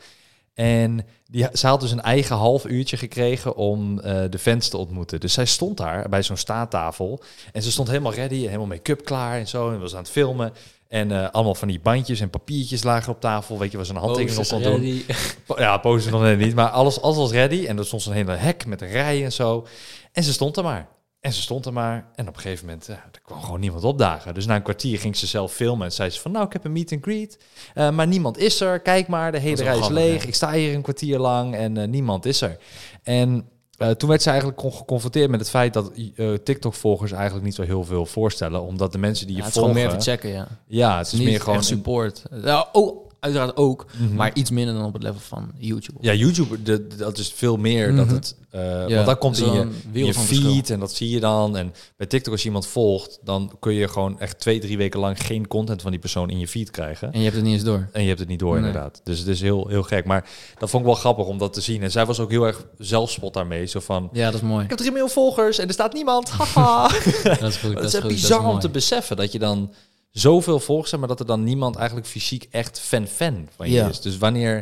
A: En die, ze had dus een eigen half uurtje gekregen om eh, de fans te ontmoeten. Dus zij stond daar bij zo'n staattafel. En ze stond helemaal ready, en helemaal make-up klaar en zo. En was aan het filmen. En eh, allemaal van die bandjes en papiertjes lagen op tafel. Weet je, waar
B: Oh,
A: ze een handtekening op
B: Posters,
A: kon doen.
B: ready.
A: Po- Ja, poses nog net niet, maar alles, alles was ready. En er stond zo'n hele hek met een rij en zo. En ze stond er maar. En ze stond er maar. En op een gegeven moment, ja, er kwam gewoon niemand opdagen. Dus na een kwartier ging ze zelf filmen. En zei ze van, nou, ik heb een meet and greet. eh, maar niemand is er. Kijk maar, de hele
B: is wel
A: rij is
B: grappig,
A: leeg.
B: ja.
A: Ik sta hier een kwartier lang en eh, niemand is er. En eh, toen werd ze eigenlijk con- geconfronteerd met het feit dat eh, TikTok-volgers eigenlijk niet zo heel veel voorstellen. Omdat de mensen die
B: Ja,
A: je
B: het is gewoon
A: volgen...
B: meer even checken, ja. Het
A: ja, het is
B: is
A: meer gewoon...
B: echt support. Ja, oh, uiteraard ook,
A: Mhm.
B: maar iets minder dan op het level van YouTube.
A: Ja, YouTube, de- de- dat is veel meer
B: Mhm.
A: dat het... eh
B: Ja,
A: want dat komt
B: zo'n
A: in je,
B: wereld
A: je
B: van
A: feed
B: verschil.
A: en dat zie je dan. En bij TikTok als je iemand volgt, dan kun je gewoon echt twee, drie weken lang geen content van die persoon in je feed krijgen.
B: En je hebt het niet eens door.
A: En je hebt het niet door
B: Nee.
A: inderdaad. Dus het is heel, heel gek. Maar dat vond ik wel grappig om dat te zien. En zij was ook heel erg zelfspot daarmee. Zo van,
B: Ja, dat is mooi.
A: ik heb drie miljoen volgers en er staat niemand. Haha.
B: dat is goed.
A: Maar Het
B: Dat is
A: is
B: goed,
A: echt
B: dat is
A: bizar om
B: mooi.
A: te beseffen dat je dan zoveel volgers hebt, maar dat er dan niemand eigenlijk fysiek echt fan-fan van je
B: Ja.
A: is. Dus wanneer,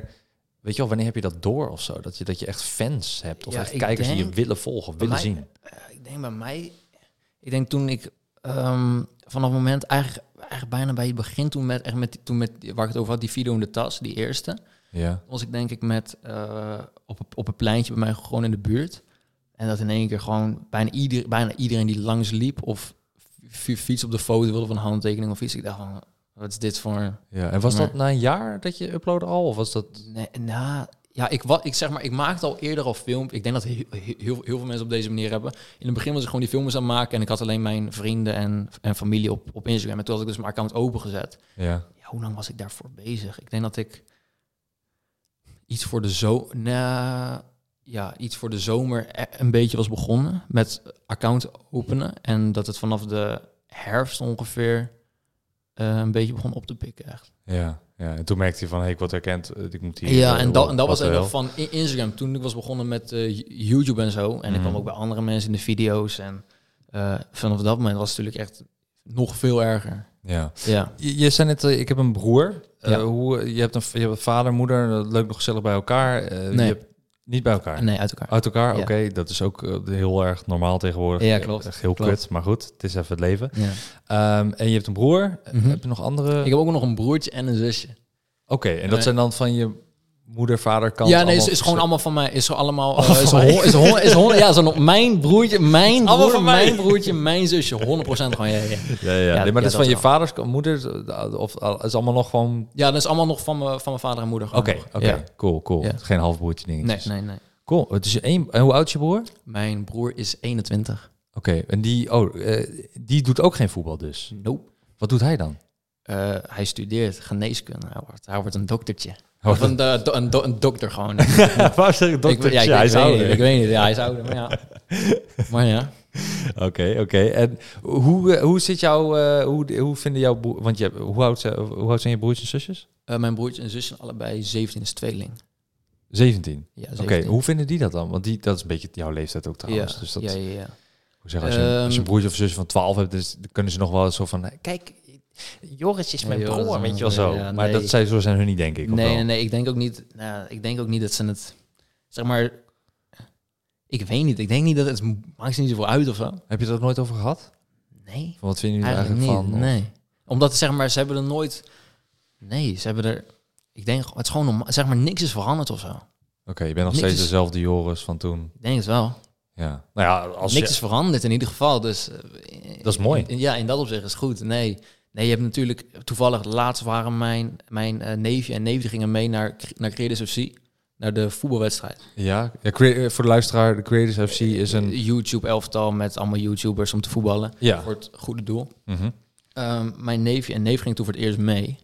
A: weet je wel, wanneer heb je dat door of zo? Dat je, dat je echt fans hebt of
B: Ja,
A: echt
B: ik
A: kijkers die je
B: denk-
A: willen volgen of willen
B: mij-
A: zien.
B: Eh, ik denk bij mij, ik denk toen ik ehm, vanaf het moment eigenlijk, eigenlijk bijna bij het begin, toen met, echt met, die- toen met waar ik het over had, die video in de tas, die eerste,
A: Ja.
B: was ik denk ik met eh, op, een- op een pleintje bij mij gewoon in de buurt. En dat in één keer gewoon bijna, ieder, bijna iedereen die langs liep of fi- fiets op de foto wilde van een handtekening of iets. Ik dacht van, wat is dit voor...
A: ja. En was
B: Maar-
A: dat na een jaar dat je uploadde al? Of was dat...
B: Nee, nou, ja, ik, wa- ik zeg maar, ik maakte al eerder al film. Ik denk dat heel, heel, heel veel mensen op deze manier hebben. In het begin was ik gewoon die films aan het maken en ik had alleen mijn vrienden en, en familie op, op Instagram. En toen had ik dus mijn account opengezet.
A: Ja.
B: Ja, hoe lang was ik daarvoor bezig? Ik denk dat ik iets voor de zo, nou, ja, iets voor de zomer e- een beetje was begonnen met account openen en dat het vanaf de herfst ongeveer eh, een beetje begon op te pikken echt.
A: Ja. ja. En toen merkte je van, hé, ik word herkend. eh, Ik moet hier...
B: Ja, en, dat
A: dan
B: en dat was eigenlijk nog van I- Instagram. Toen ik was begonnen met eh, YouTube en zo. En ik kwam
A: Mhm.
B: ook bij andere mensen in de video's. En eh, vanaf dat moment was het natuurlijk echt nog veel erger.
A: Ja.
B: Ja.
A: Je, je zei net, eh, ik heb een broer. Eh,
B: Ja.
A: hoe, je, hebt een, je hebt een vader, moeder, eh, leuk nog gezellig bij elkaar. Eh, je
B: Nee.
A: hebt- niet bij elkaar.
B: Nee, uit elkaar.
A: Uit elkaar,
B: Ja.
A: oké. Dat is ook eh, heel erg normaal tegenwoordig.
B: Ja, klopt.
A: Echt heel
B: Klopt.
A: kut, maar goed. Het is even het leven.
B: Ja.
A: Ehm, en je hebt een broer.
B: Mhm.
A: Heb je nog andere?
B: Ik heb ook nog een broertje en een zusje.
A: Oké, en dat
B: Nee.
A: zijn dan van je moeder, vader, kant?
B: ja, nee,
A: allemaal
B: is, is gewoon
A: verschil-
B: allemaal van mij. Is zo allemaal. eh,
A: Allemaal
B: is
A: van
B: hon-
A: mij.
B: is hon- is hon- ja, zo nog mijn broertje, mijn
A: Allemaal
B: broer,
A: van mij.
B: mijn broertje, mijn zusje. 100% gewoon. Ja, ja.
A: Ja, ja.
B: Ja,
A: nee, maar
B: ja,
A: dat is van
B: dat
A: je
B: wel.
A: vaders, kant, moeder, eh, of eh, is allemaal nog gewoon...
B: ja, dat is allemaal nog van, mijn- van mijn vader en moeder.
A: Oké,
B: gewoon nog.
A: oké,
B: Ja.
A: cool, cool.
B: Ja.
A: Geen halfbroertje
B: Nee,
A: dingetjes.
B: nee, nee.
A: Cool, het is één... En hoe oud is je broer? Oké,
B: Mijn broer is 21.
A: en die, oh, eh, die doet ook geen voetbal dus.
B: Nope.
A: Wat doet hij dan?
B: Eh, hij studeert geneeskunde. Hij wordt, hij wordt een doktertje.
A: Oh,
B: Of een, eh, do- do- een, do- een dokter gewoon.
A: Waar zeg ik
B: ik, ja, ik, ik weet niet, ik weet niet. Ja, hij is ouder. Maar ja. Maar ja.
A: Oké, oké. En hoe, eh, hoe zit jouw, eh, hoe, hoe vinden jouw broer, want je, hebt- hoe, oud, zijn- hoe oud zijn je broertjes en zusjes?
B: Eh, mijn broertje en zus zijn allebei 17 is tweeling.
A: 17.
B: Ja,
A: Oké,
B: 17.
A: hoe vinden die dat dan? Want die, dat is een beetje jouw leeftijd ook trouwens.
B: Ja,
A: dus dat,
B: ja, ja, ja.
A: hoe zeg, als, je, als je een
B: Ehm,
A: broertje of zusje van 12 hebt, dus, dan kunnen ze nog wel zo van, eh, kijk, Joris is
B: Ja,
A: mijn
B: joh, dat is
A: broer,
B: wel-
A: weet je wel zo.
B: ja,
A: Maar
B: nee.
A: dat zij, zo zijn hun niet, denk ik. of
B: Nee,
A: wel?
B: nee, nee. Ik denk ook niet, nou, ik denk ook niet dat ze het... Zeg maar... Ik weet niet. Ik denk niet dat het... Maakt ze niet zoveel uit of zo?
A: Heb je dat nooit over gehad?
B: Nee.
A: Van wat vinden jullie er
B: Eigenlijk
A: eigenlijk,
B: niet,
A: van? Of-
B: nee. Omdat, zeg maar, ze hebben er nooit... Nee, ze hebben er... Ik denk, het is gewoon normaal. Zeg maar, niks is veranderd of zo.
A: Oké, je bent nog
B: Niks
A: steeds
B: is-
A: dezelfde Joris van toen.
B: Ik denk het wel.
A: Ja. Nou ja, als
B: niks
A: je-
B: is veranderd in ieder geval, dus... eh,
A: Dat is mooi.
B: in- in- ja, in dat opzicht is het goed. Nee, nee, je hebt natuurlijk... Toevallig, laatst waren mijn, mijn eh, neefje en neefje gingen mee naar, naar Creators FC. Naar de voetbalwedstrijd.
A: ja, ja, crea- eh, voor de luisteraar, de Creators FC is een...
B: Eh, YouTube-elftal met allemaal YouTubers om te voetballen.
A: Ja.
B: Voor het goede doel.
A: Mhm.
B: Ehm, mijn neefje en neef ging toen voor het eerst mee.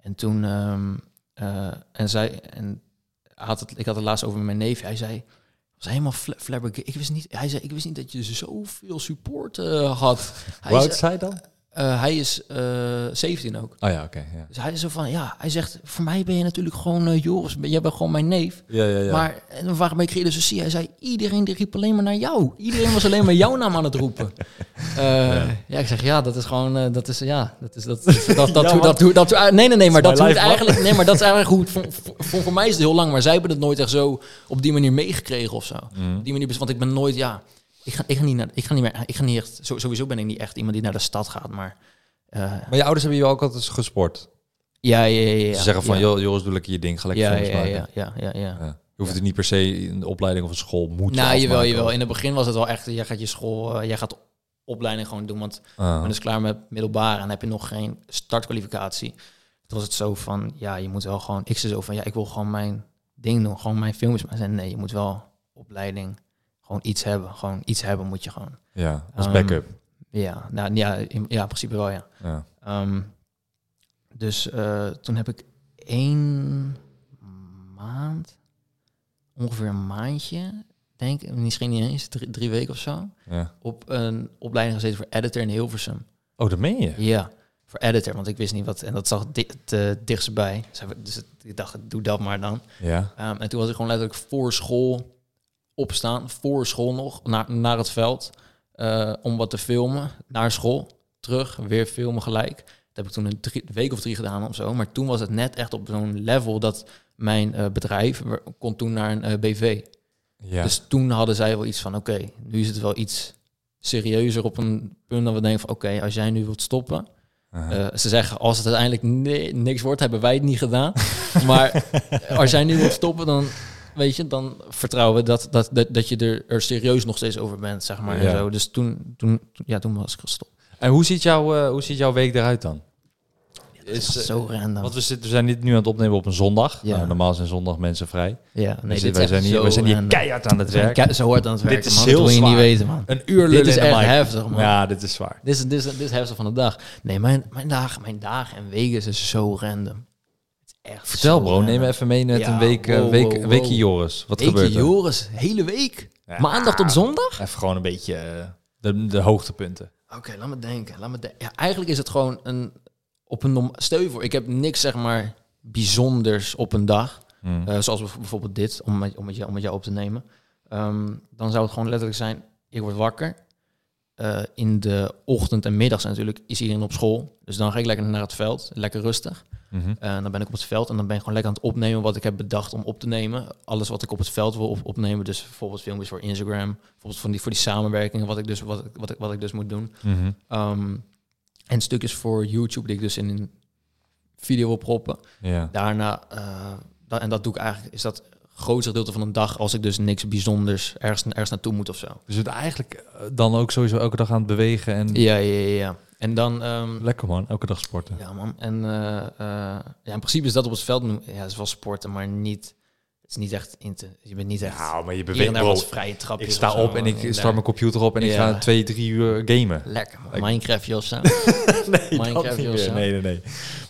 B: En toen... ehm, eh, en zij... En had het, ik had het laatst over met mijn neefje. Hij zei... was helemaal fla flabberga- Ik wist niet, hij zei, ik wist niet dat je zoveel support eh, had. Hij,
A: Hoe oud
B: is,
A: is hij dan?
B: eh, hij is eh 17 ook.
A: Oh ja, oké. ja.
B: Dus hij is zo van, ja, hij zegt, voor mij ben je natuurlijk gewoon eh, Joris, ben- jij bent gewoon mijn neef.
A: Ja, ja, ja.
B: Maar en dan vraag ik me geïllustreerd. Hij zei, iedereen die riep alleen maar naar jou. Iedereen was alleen maar jouw naam aan het roepen. Eh, ja. ik zeg, ja, dat is gewoon, eh, dat is, ja, dat is, dat, dat, dat, dat,
A: Ja,
B: hoe-
A: man.
B: dat, hoe- dat, hoe- nee, nee, nee, maar
A: Dat
B: dat,
A: is
B: hoe
A: mijn
B: het
A: lijf, man.
B: eigenlijk, nee, maar dat is eigenlijk hoe het, voor, voor, voor mij is het heel lang, maar zij hebben het nooit echt zo op die manier meegekregen of zo.
A: Mhm.
B: Op die manier, want ik ben nooit, ja, ik ga, ik ga niet naar, ik ga niet meer, ik ga niet echt, zo- sowieso ben ik niet echt iemand die naar de stad gaat, maar, eh,
A: Maar je ouders hebben je ook altijd eens gesport.
B: ja, ja, ja, ja.
A: Ze zeggen van,
B: ja.
A: joh, Joris, doe lekker je ding, ga lekker
B: ja,
A: films
B: ja,
A: maken.
B: ja, ja, ja, ja.
A: Ja. Je hoeft het niet per se in de opleiding of een school moeten
B: Nou, jawel,
A: afmaken.
B: jawel. In het begin was het wel echt, jij gaat je school, eh, jij gaat opleiding gewoon doen, want
A: Ah.
B: dan is het klaar met middelbaar en dan heb je nog geen startkwalificatie. Toen was het zo van, ja, je moet wel gewoon, ik zei zo van, ja, ik wil gewoon mijn ding doen, gewoon mijn filmpjes. Maar ze zei, nee, je moet wel opleiding, gewoon iets hebben, gewoon iets hebben moet je gewoon.
A: Ja, als
B: Ehm,
A: backup.
B: Ja, nou, ja, in, ja, in principe wel, ja.
A: Ja.
B: Ehm, dus eh, toen heb ik één maand, ongeveer een maandje, denk ik, misschien niet eens, drie, drie weken of zo,
A: Ja.
B: op een opleiding gezeten voor editor in Hilversum.
A: Oh, dat meen je?
B: Ja, voor editor, want ik wist niet wat, en dat zag dit het eh, dichtst bij. Dus heb ik- Dus het- ik dacht, doe dat maar dan.
A: Ja.
B: Ehm, en toen was ik gewoon letterlijk voor school opstaan, voor school nog, naar, naar het veld, eh, om wat te filmen, naar school, terug, weer filmen gelijk. Dat heb ik toen een drie- week of drie gedaan of zo. Maar toen was het net echt op zo'n level dat mijn eh, bedrijf we- kon toen naar een eh, BV.
A: Ja.
B: Dus toen hadden zij wel iets van, oké, nu is het wel iets serieuzer op een punt dat we denken van, oké, als jij nu wilt stoppen,
A: Aha.
B: eh, ze zeggen, als het uiteindelijk ni- niks wordt, hebben wij het niet gedaan. maar als jij nu wilt stoppen, dan, weet je, dan vertrouwen we dat, dat, dat, dat je er, er serieus nog steeds over bent, zeg maar.
A: Ja.
B: En zo. Dus toen, toen, toen- ja, toen was ik gestopt.
A: En hoe ziet, jouw, eh, hoe ziet jouw week eruit dan? Is, eh,
B: zo random.
A: want we, zitten, we zijn dit nu aan het opnemen op een zondag.
B: Ja.
A: Nou, normaal zijn zondag mensen vrij.
B: ja, nee,
A: Dus
B: dit
A: wij
B: is
A: zijn
B: echt
A: hier,
B: zo
A: we zijn hier
B: random.
A: keihard aan het
B: We zijn
A: werk.
B: kei- Zo hard aan het
A: Dit
B: werken,
A: is
B: man. Dat
A: heel
B: wil je niet
A: zwaar.
B: weten, man.
A: Een uur
B: Dit
A: lullen
B: is
A: in de
B: echt
A: mic.
B: heftig, man.
A: Ja, dit is zwaar.
B: Dit is, dit, is, dit is heftig van de dag. Nee, mijn, mijn, dagen, mijn dagen en weken zijn zo random. Het is echt
A: Vertel
B: zo
A: bro, neem
B: random.
A: me even mee net
B: Ja,
A: een week, eh,
B: wow,
A: week,
B: wow, wow.
A: weekje Joris. Wat
B: Weekje
A: gebeurt er?
B: Joris, hele week.
A: Ja.
B: Maandag tot zondag?
A: Even gewoon een beetje eh, de, de hoogtepunten.
B: Oké, laat me denken. Laat me denken. Ja, eigenlijk is het gewoon een op een norm- stel je voor. Ik heb niks zeg maar bijzonders op een dag,
A: Hmm.
B: Eh, zoals bijv- bijvoorbeeld dit om met, om met, jou, om met jou op te nemen. Ehm, dan zou het gewoon letterlijk zijn: ik word wakker. Eh, in de ochtend en middags natuurlijk is iedereen op school, dus dan ga ik lekker naar het veld, lekker rustig.
A: Mhm.
B: En Eh, dan ben ik op het veld en dan ben ik gewoon lekker aan het opnemen wat ik heb bedacht om op te nemen. Alles wat ik op het veld wil op- opnemen. Dus bijvoorbeeld filmpjes voor Instagram. Bijvoorbeeld van die, voor die samenwerkingen, wat ik dus, wat, ik- wat, ik, wat ik dus moet doen.
A: Mhm.
B: Ehm, en stukjes voor YouTube die ik dus in een video wil proppen.
A: Ja.
B: Daarna, eh, da- en dat doe ik eigenlijk, is dat grootste gedeelte van een dag als ik dus niks bijzonders ergens, ergens naartoe moet of zo.
A: Dus je bent eigenlijk eh, dan ook sowieso elke dag aan het bewegen en
B: Ja, ja, ja. ja. En dan... ehm,
A: lekker man, elke dag sporten.
B: Ja, man. En eh, eh, ja, in principe is dat op het veld. noem- Ja, het is wel sporten, maar niet. Het is niet echt in te. Je bent niet echt.
A: Nou, maar je
B: hier en
A: beweegt
B: daar
A: bro.
B: wat vrije trapjes.
A: Ik sta
B: of zo, eh,
A: op en ik
B: man.
A: start mijn computer op en ik
B: Ja.
A: ga twee, drie uur gamen.
B: Lekker, man.
A: Ik-
B: Minecraft, Jos. hè?
A: Nee,
B: Minecraft niet meer. of zo.
A: Nee, nee, nee.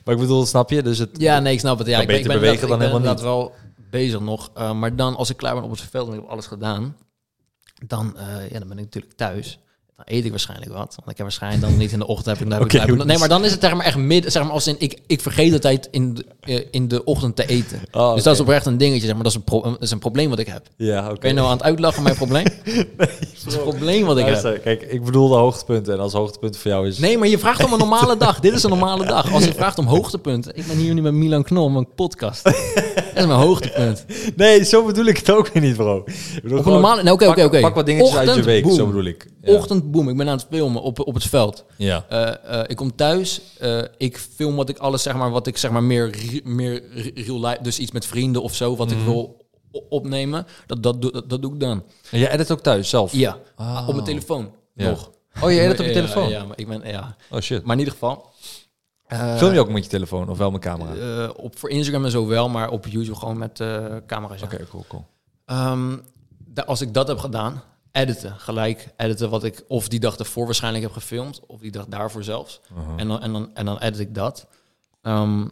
A: Maar ik bedoel, snap je? Dus het,
B: Ja, nee, ik snap het. Ja,
A: Kan
B: ik ben, ik
A: beter
B: ben
A: bewegen
B: inderdaad-
A: dan
B: ik ben inderdaad wel bezig nog. Eh, maar dan, als ik klaar ben op het veld en ik heb alles gedaan, dan, eh, ja, dan ben ik natuurlijk thuis. Dan eet ik waarschijnlijk wat. Want ik heb waarschijnlijk dan niet in de ochtend. Heb ik, dan heb ik-
A: Oké,
B: heb ik-
A: goed.
B: nee, maar dan is het zeg maar echt midden. Zeg maar als in, ik, ik vergeet de tijd in de, eh, in de ochtend te eten.
A: Oh,
B: Dus dat is oprecht een dingetje, zeg maar. Dat is een, pro- dat is een probleem wat ik heb.
A: Ja, oké.
B: Ben je nou aan het uitlachen mijn probleem? dat is een probleem wat ik heb.
A: Luister, Kijk, ik bedoel de hoogtepunten. En als hoogtepunt voor jou is...
B: Nee, maar je vraagt om een normale dag. Dit is een normale dag. Als je vraagt om hoogtepunten. Ik ben hier nu met Milan Knol, mijn podcast. Dat is mijn hoogtepunt.
A: Nee, zo bedoel ik het ook weer niet, bro.
B: Op een normale... Nee, oké,
A: pak,
B: oké, oké.
A: pak wat dingetjes uit je
B: Ochtend,
A: week,
B: boom.
A: zo bedoel ik. Ja.
B: Ochtend, boom. Ik ben aan het filmen op, op het veld.
A: Ja.
B: Eh, eh, ik kom thuis. eh, ik film wat ik alles, zeg maar, wat ik zeg maar meer, re- meer re- real life... Dus iets met vrienden of zo, wat ik
A: Mhm.
B: wil o- opnemen. Dat, dat, doe- dat, dat doe ik dan.
A: En jij edit ook thuis, zelf?
B: Ja,
A: Ah.
B: op mijn telefoon.
A: Ja.
B: Nog.
A: Oh, jij edit op je
B: Ja,
A: telefoon?
B: Ja, maar ik ben ja.
A: Oh, shit.
B: Maar in ieder geval. eh,
A: Film je ook met je telefoon of wel met camera? Oké,
B: eh, op, voor Instagram en zo wel, maar op YouTube gewoon met eh camera's. ja.
A: cool, cool.
B: Ehm, da- als ik dat heb gedaan, editen. Gelijk editen wat ik of die dag ervoor waarschijnlijk heb gefilmd, of die dag daarvoor zelfs.
A: Mhm.
B: En, dan, en, dan, en dan edit ik dat. Ehm,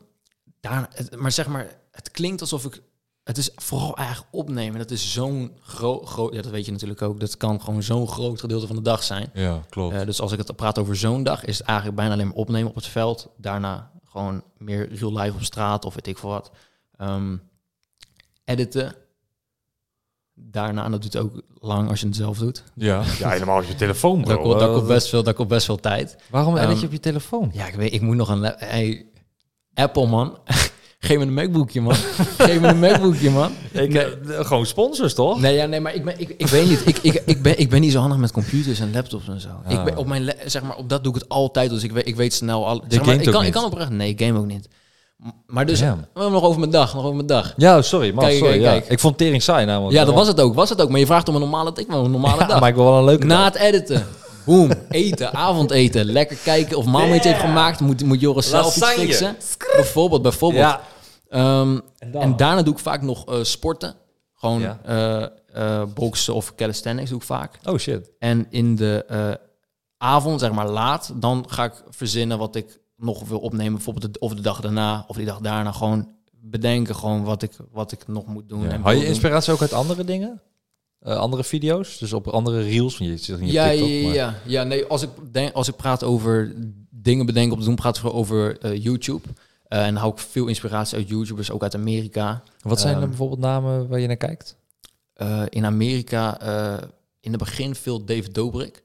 B: daarna, het- maar zeg maar, het klinkt alsof ik het is vooral erg opnemen. Dat is zo'n groot, groot... Ja, dat weet je natuurlijk ook. Dat kan gewoon zo'n groot gedeelte van de dag zijn.
C: Ja, klopt.
B: Eh, dus als ik het praat over zo'n dag, is het eigenlijk bijna alleen maar opnemen op het veld. Daarna gewoon meer real life op straat of weet ik veel wat. Ehm, editen. Daarna, en dat doet ook lang als je het zelf doet.
C: Ja.
A: Ja, helemaal op je telefoon,
B: Daar
A: bro.
B: komt, daar
A: Eh,
B: komt best, veel, daar komt best veel tijd.
A: Waarom edit je
B: Ehm,
A: op je telefoon?
B: Ja, ik weet, ik moet nog een... la- Hey, Apple, man. Geef me een MacBookje, man. Geef me een MacBookje, man.
A: Ik, eh, gewoon sponsors, toch?
B: Nee, ja, nee maar ik, ben, ik, ik weet niet. Ik, ik, ik, ben, ik ben niet zo handig met computers en laptops en zo. Ik ben, op, mijn, la- zeg maar, op dat doe ik het altijd. Dus ik weet, ik weet snel al. Zeg maar,
C: gamet
B: ik,
C: ook
B: kan, ik
C: niet.
B: kan oprecht. Nee, ik game ook niet. M- Maar dus,
A: Ja.
B: maar nog over mijn dag. Nog over mijn dag.
A: Ja, sorry, man.
B: Kijk,
A: sorry,
B: kijk,
A: ja.
B: kijk.
A: Ik vond tering saai namelijk.
B: Ja, dat was het ook. Was het ook. Maar je vraagt om een normale, ik wil een normale
A: Ja,
B: dag.
A: maar ik wil wel een leuke
B: Na
A: dag.
B: het editen. Boom. Eten. avondeten. Lekker kijken of mama iets heeft gemaakt. Moet, moet Joris zelf iets
A: Lasagne.
B: fixen. Bijvoorbeeld, bijvoorbeeld.
A: Ja.
B: Ehm, en,
A: dan?
B: daarna doe ik vaak nog eh, sporten. Gewoon
A: Ja.
B: eh, eh, boksen of calisthenics doe ik vaak.
A: Oh shit.
B: En in de eh, avond, zeg maar laat, dan ga ik verzinnen wat ik nog wil opnemen. Bijvoorbeeld de, of de dag daarna of die dag daarna. Gewoon bedenken gewoon wat ik, wat ik nog moet doen. en
A: Had
B: wil
A: je
B: doen.
A: inspiratie ook uit andere dingen? Eh, andere video's? Dus op andere reels? Want je zit niet
B: Ja,
A: op TikTok.
B: ja,
A: maar-
B: ja, ja. Nee, als ik, denk, als ik praat over dingen bedenken op te doen, praat ik vooral over eh, YouTube. Eh, en hou ik veel inspiratie uit YouTubers, ook uit Amerika.
A: Wat zijn er
B: Ehm,
A: bijvoorbeeld namen waar je naar kijkt?
B: Eh, in Amerika eh, in het begin veel Dave Dobrik.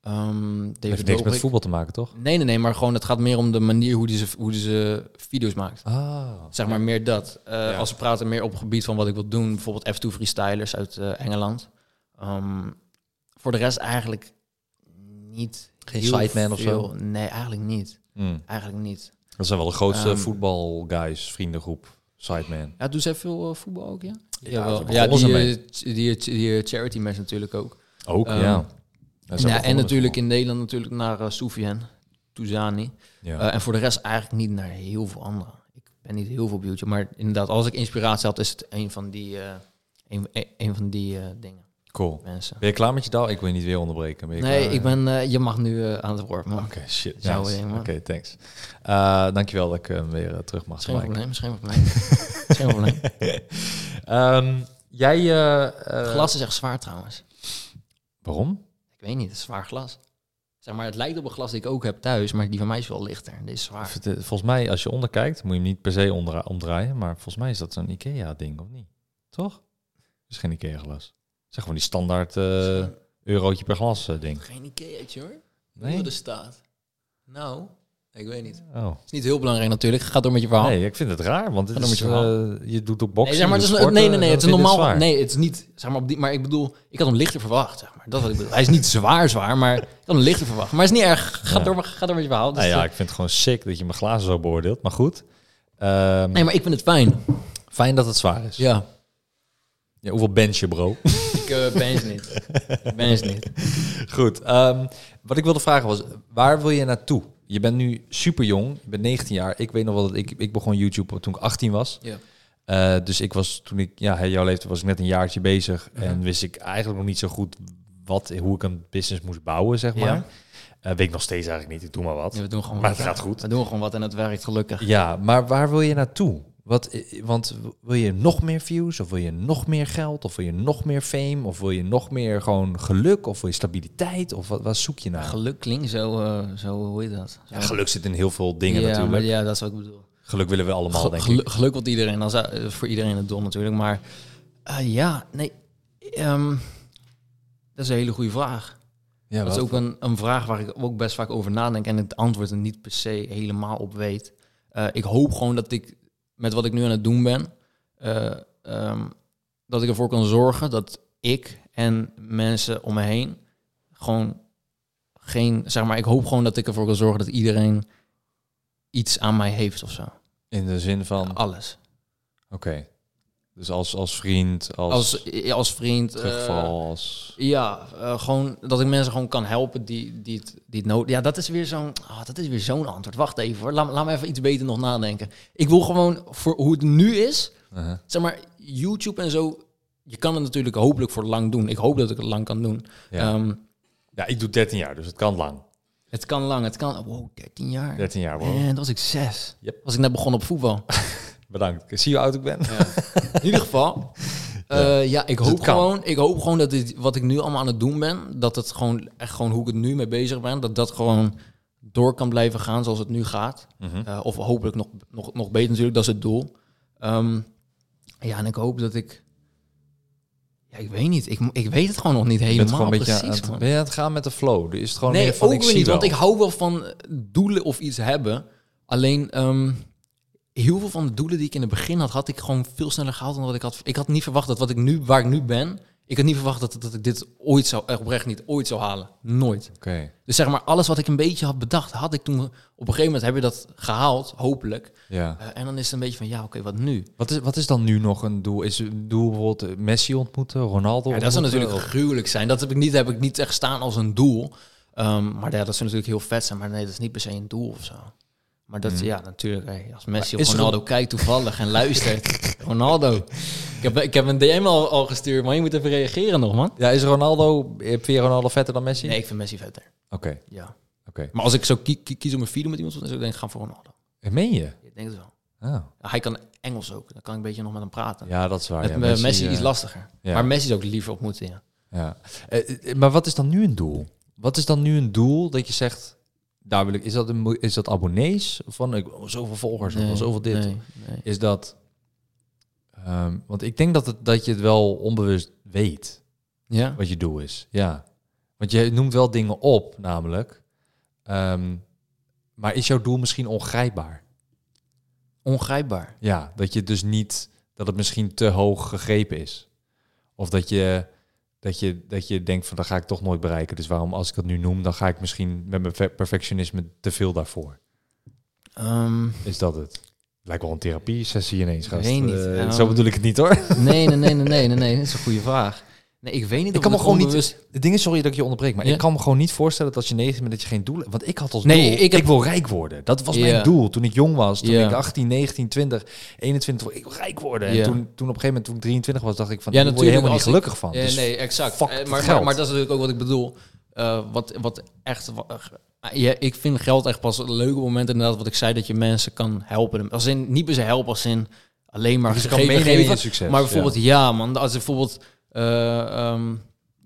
B: Ehm Dave
A: Het heeft niks
B: Dobrik.
A: met voetbal te maken, toch?
B: Nee, nee, nee, maar gewoon het gaat meer om de manier hoe die ze, hoe die ze video's maakt.
A: Ah.
B: Zeg maar meer dat. Eh,
C: Ja.
B: Als we praten meer op het gebied van wat ik wil doen, bijvoorbeeld F2 Freestylers uit eh, Engeland. Ehm, voor de rest eigenlijk niet.
A: Geen
B: heel
A: sideman of zo? Hmm.
B: veel. Nee, eigenlijk niet. Eigenlijk niet.
C: Dat zijn wel de grootste
B: Ehm,
C: voetbalguys, vriendengroep, sideman.
B: Ja, doen zij veel eh, voetbal ook, ja?
A: ze
B: Jawel. ja
A: begonnen
B: die,
A: ze
B: eh, ch- die, eh, ch- die, eh, charity match natuurlijk ook.
C: Ook,
B: Ehm,
A: ja.
B: Ja, en natuurlijk in Nederland natuurlijk naar eh Soufiane, Touzani.
C: Ja.
B: Eh, en voor de rest eigenlijk niet naar heel veel anderen. Ik ben niet heel veel op YouTube, maar inderdaad, als ik inspiratie had, is het een van die, eh, een, een- een van die eh, dingen,
C: Cool.
B: mensen.
C: Ben je klaar met je dag? Ik wil je niet weer onderbreken. Ben je
B: Nee,
C: klaar?
B: ik ben, eh, je mag nu eh, aan het woord, man.
C: Oké, shit.
B: Jouw
C: nice.
B: ding,
C: Oké,
B: man.
C: thanks. Eh, dankjewel dat ik hem weer eh, terug mag
B: Is geen
C: maken.
B: probleem, is geen probleem. Is geen probleem.
A: Ehm, jij... eh, eh,
B: Glas is echt zwaar trouwens.
C: Waarom?
B: Ik weet niet, het is zwaar glas. Zeg maar, het lijkt op een glas die ik ook heb thuis, maar die van mij is wel lichter. Dit is zwaar.
A: v- de- Volgens mij, als je onderkijkt, moet je hem niet per se omdra- omdraaien. Maar volgens mij is dat zo'n IKEA-ding, of niet? Toch? Het is geen IKEA-glas. Zeg gewoon die standaard eh, eurotje per glas eh, ding.
B: Geen Ikea'tje hoor.
A: Nee?
B: er staat. Nou, ik weet niet.
A: Oh.
B: is niet heel belangrijk natuurlijk. Ga door met je verhaal.
A: Nee, ik vind het raar, want het
B: Oh, Dan moet
A: is,
B: je verhaal.
A: eh, je doet ook boksen.
B: nee, zeg maar,
A: je
B: het
A: doet
B: is, een- nee, nee,
A: sporten,
B: nee, het is
A: dan
B: een
A: vind je zwaar.
B: normaal. nee, het is niet. Zeg maar, op die, maar ik bedoel, ik had hem lichter verwacht. Zeg maar. Dat is wat ik bedoel. Hij is niet zwaar, zwaar, maar ik had hem lichter verwacht. Maar het is niet erg. Ga,
A: Ja.
B: door, maar- ga door met je verhaal. Dus,
A: Nou ja,
B: eh,
A: ik vind het gewoon sick dat je mijn glazen zo beoordeelt. Maar goed. Ehm,
B: nee, maar ik vind het fijn.
A: Fijn dat het zwaar is.
B: Ja,
A: Ja, hoeveel bench je, bro?
B: ik eh, ben het niet. Ik ben het niet.
A: goed. ehm, wat ik wilde vragen was, waar wil je naartoe? Je bent nu super jong. Je bent 19 jaar. Ik weet nog wel dat ik, ik begon YouTube toen ik 18 was.
B: Ja.
A: Eh, dus ik was toen ik, ja, hè, jouw leeftijd was ik net een jaartje bezig. En wist ik eigenlijk nog niet zo goed wat, hoe ik een business moest bouwen, zeg
B: Ja.
A: maar. Eh, weet ik nog steeds eigenlijk niet. Ik doe maar wat.
B: Ja, we doen gewoon
A: Maar
B: wat.
A: het gaat goed.
B: We doen gewoon wat en het werkt gelukkig.
A: Ja, maar waar wil je naartoe? Wat, eh, want wil je nog meer views? Of wil je nog meer geld? Of wil je nog meer fame? Of wil je nog meer gewoon geluk? Of wil je stabiliteit? Of wat, wat zoek je naar?
B: Geluk klinkt zo, eh, zo hoe heet dat? Zo-
A: Ja, geluk zit in heel veel dingen
B: ja,
A: natuurlijk.
B: maar ja, dat is wat ik bedoel.
A: Geluk willen we allemaal,
B: Gel-
A: denk ik.
B: gelu- Geluk wat iedereen, dan zou- eh, voor iedereen het doel natuurlijk. Maar eh, ja, nee, ehm, dat is een hele goede vraag.
A: Ja,
B: dat is ook een, een vraag waar ik ook best vaak over nadenk en het antwoord er niet per se helemaal op weet. Eh, ik hoop gewoon dat ik met wat ik nu aan het doen ben, eh, ehm, dat ik ervoor kan zorgen dat ik en mensen om me heen gewoon geen, zeg maar, ik hoop gewoon dat ik ervoor kan zorgen dat iedereen iets aan mij heeft of zo.
A: In de zin van, oké.
B: Alles.
A: Dus als, als vriend, als,
B: als, ja, als vriend. eh,
A: terugval, als...
B: ja, eh, gewoon dat ik mensen gewoon kan helpen die, die het, die het nodig Ja, dat is weer zo'n ah, dat is weer zo'n antwoord. Wacht even hoor. Laat, me- laat me even iets beter nog nadenken. Ik wil gewoon voor hoe het nu is,
A: Uh-huh.
B: zeg maar, YouTube en zo. Je kan het natuurlijk hopelijk voor lang doen. Ik hoop dat ik het lang kan doen.
A: Ja.
B: Ehm,
A: Ja, ik doe 13 jaar, dus het kan lang.
B: het kan lang, het kan. Wow, 13 jaar.
A: 13 jaar, bro.
B: En dat was ik zes.
A: Yep.
B: Was ik net begonnen op voetbal.
A: Bedankt. Ik Zie je hoe oud ik ben?
B: In ieder geval, eh, ja, ik hoop,
A: Dus kan.
B: gewoon, ik hoop gewoon dat dit, wat ik nu allemaal aan het doen ben, dat het gewoon echt gewoon hoe ik het nu mee bezig ben, dat dat gewoon door kan blijven gaan zoals het nu gaat.
A: Mhm.
B: Eh, of hopelijk nog, nog, nog beter natuurlijk, dat is het doel. Ehm, ja, en ik hoop dat ik... Ja, ik weet niet. Ik, mo- ik weet het gewoon nog niet
A: Je bent
B: helemaal
A: gewoon een beetje eh,
B: precies.
A: aan het,
B: man.
A: ben je aan het gaan met de flow. Er is het gewoon
B: Nee,
A: meer van
B: ook
A: ik
B: weer
A: zie
B: niet, want
A: wel.
B: ik hou wel van eh, doelen of iets hebben. Alleen ehm, heel veel van de doelen die ik in het begin had, had ik gewoon veel sneller gehaald dan wat ik had. Ik had niet verwacht dat wat ik nu, waar ik nu ben, ik had niet verwacht dat, dat ik dit ooit zou, echt oprecht niet, ooit zou halen. Nooit.
A: Oké.
B: Dus zeg maar, alles wat ik een beetje had bedacht, had ik toen, op een gegeven moment heb je dat gehaald, hopelijk.
A: Ja.
B: Eh, en dan is het een beetje van, ja, oké, wat nu?
A: Wat is, wat is dan nu nog een doel? Is een doel bijvoorbeeld eh, Messi ontmoeten, Ronaldo
B: Ja, dat zou
A: ontmoeten?
B: natuurlijk gruwelijk zijn. Dat heb ik niet, heb ik niet echt staan als een doel. Ehm, maar ja, dat zou natuurlijk heel vet zijn. Maar nee, dat is niet per se een doel of zo. Maar dat, ja, natuurlijk. hey, als Messi of
A: is er
B: Ronaldo kijkt toevallig en luistert. Ronaldo. Ik heb, ik heb een DM al, al gestuurd, maar je moet even reageren nog, man.
A: Ja, is Ronaldo, eh, vind je Ronaldo vetter dan Messi?
B: Nee, ik vind Messi vetter.
A: Oké,
B: Ja.
A: oké.
B: Maar als ik zo kie- kie- kies om een video met iemand, dan zou ik denk ik, gaan voor Ronaldo.
A: Eh, Meen je?
B: Ik denk het wel.
A: Ah.
B: Hij kan Engels ook. Dan kan ik een beetje nog met hem praten.
A: Ja, dat is waar.
B: met
A: ja.
B: eh, Messi,
A: eh,
B: iets lastiger.
A: ja.
B: Maar Messi zou ik liever ontmoeten, ja.
A: Ja. Eh, eh, maar wat is dan nu een doel? Wat is dan nu een doel dat je zegt, daar wil ik, is dat, een, mo- is dat abonnees? Van ik wil zoveel volgers, of ik wil zoveel dit.
B: Nee, nee.
A: Is dat, ehm, want ik denk dat, het, dat je het wel onbewust weet
B: Ja?
A: wat je doel is. Ja. Want je noemt wel dingen op, namelijk. Ehm, maar is jouw doel misschien ongrijpbaar?
B: Ongrijpbaar.
A: Ja, dat je dus niet dat het misschien te hoog gegrepen is. Of dat je dat je dat je denkt van dat ga ik toch nooit bereiken. Dus waarom als ik dat nu noem, dan ga ik misschien met mijn ver- perfectionisme te veel daarvoor.
B: Ehm,
A: Is dat het? Lijkt wel een therapie sessie ineens gast.
B: weet niet.
A: Eh,
B: Ehm,
A: zo bedoel ik het niet hoor.
B: nee, nee, nee, nee, nee, nee, nee, dat is een goede vraag. Nee, ik weet niet.
A: Ik
B: of
A: kan me
B: het
A: gewoon niet-
B: onbewust-
A: Het ding is sorry dat ik je onderbreek, maar
B: Ja.
A: ik kan me gewoon niet voorstellen dat als je 19 bent dat je geen doel hebt. Want ik had als
B: Nee,
A: doel
B: ik heb-
A: wil rijk worden. Dat was
B: Ja.
A: mijn doel toen ik jong was, toen
B: Ja.
A: ik 18, 19, 20, 21 ik wil rijk worden.
B: Ja.
A: En toen toen op een gegeven moment toen ik 23 was, dacht ik van
B: Ja,
A: ja, daar word je
B: natuurlijk,
A: helemaal niet
B: als
A: gelukkig
B: ik-
A: van.
B: Ja,
A: Dus
B: nee, exact.
A: fuck
B: Eh,
A: het
B: maar,
A: geld.
B: maar dat is natuurlijk ook wat ik bedoel. Eh, wat, wat echt. wa- eh, ja, ik vind geld echt pas een leuke moment, inderdaad, wat ik zei, dat je mensen kan helpen. Als in, niet per se helpen, als in alleen maar
A: Dus je kan
B: gegeven-
A: meenemen in
B: geven.
A: je succes,
B: Maar
A: ja.
B: bijvoorbeeld, ja, man, als je bijvoorbeeld. eh, ehm,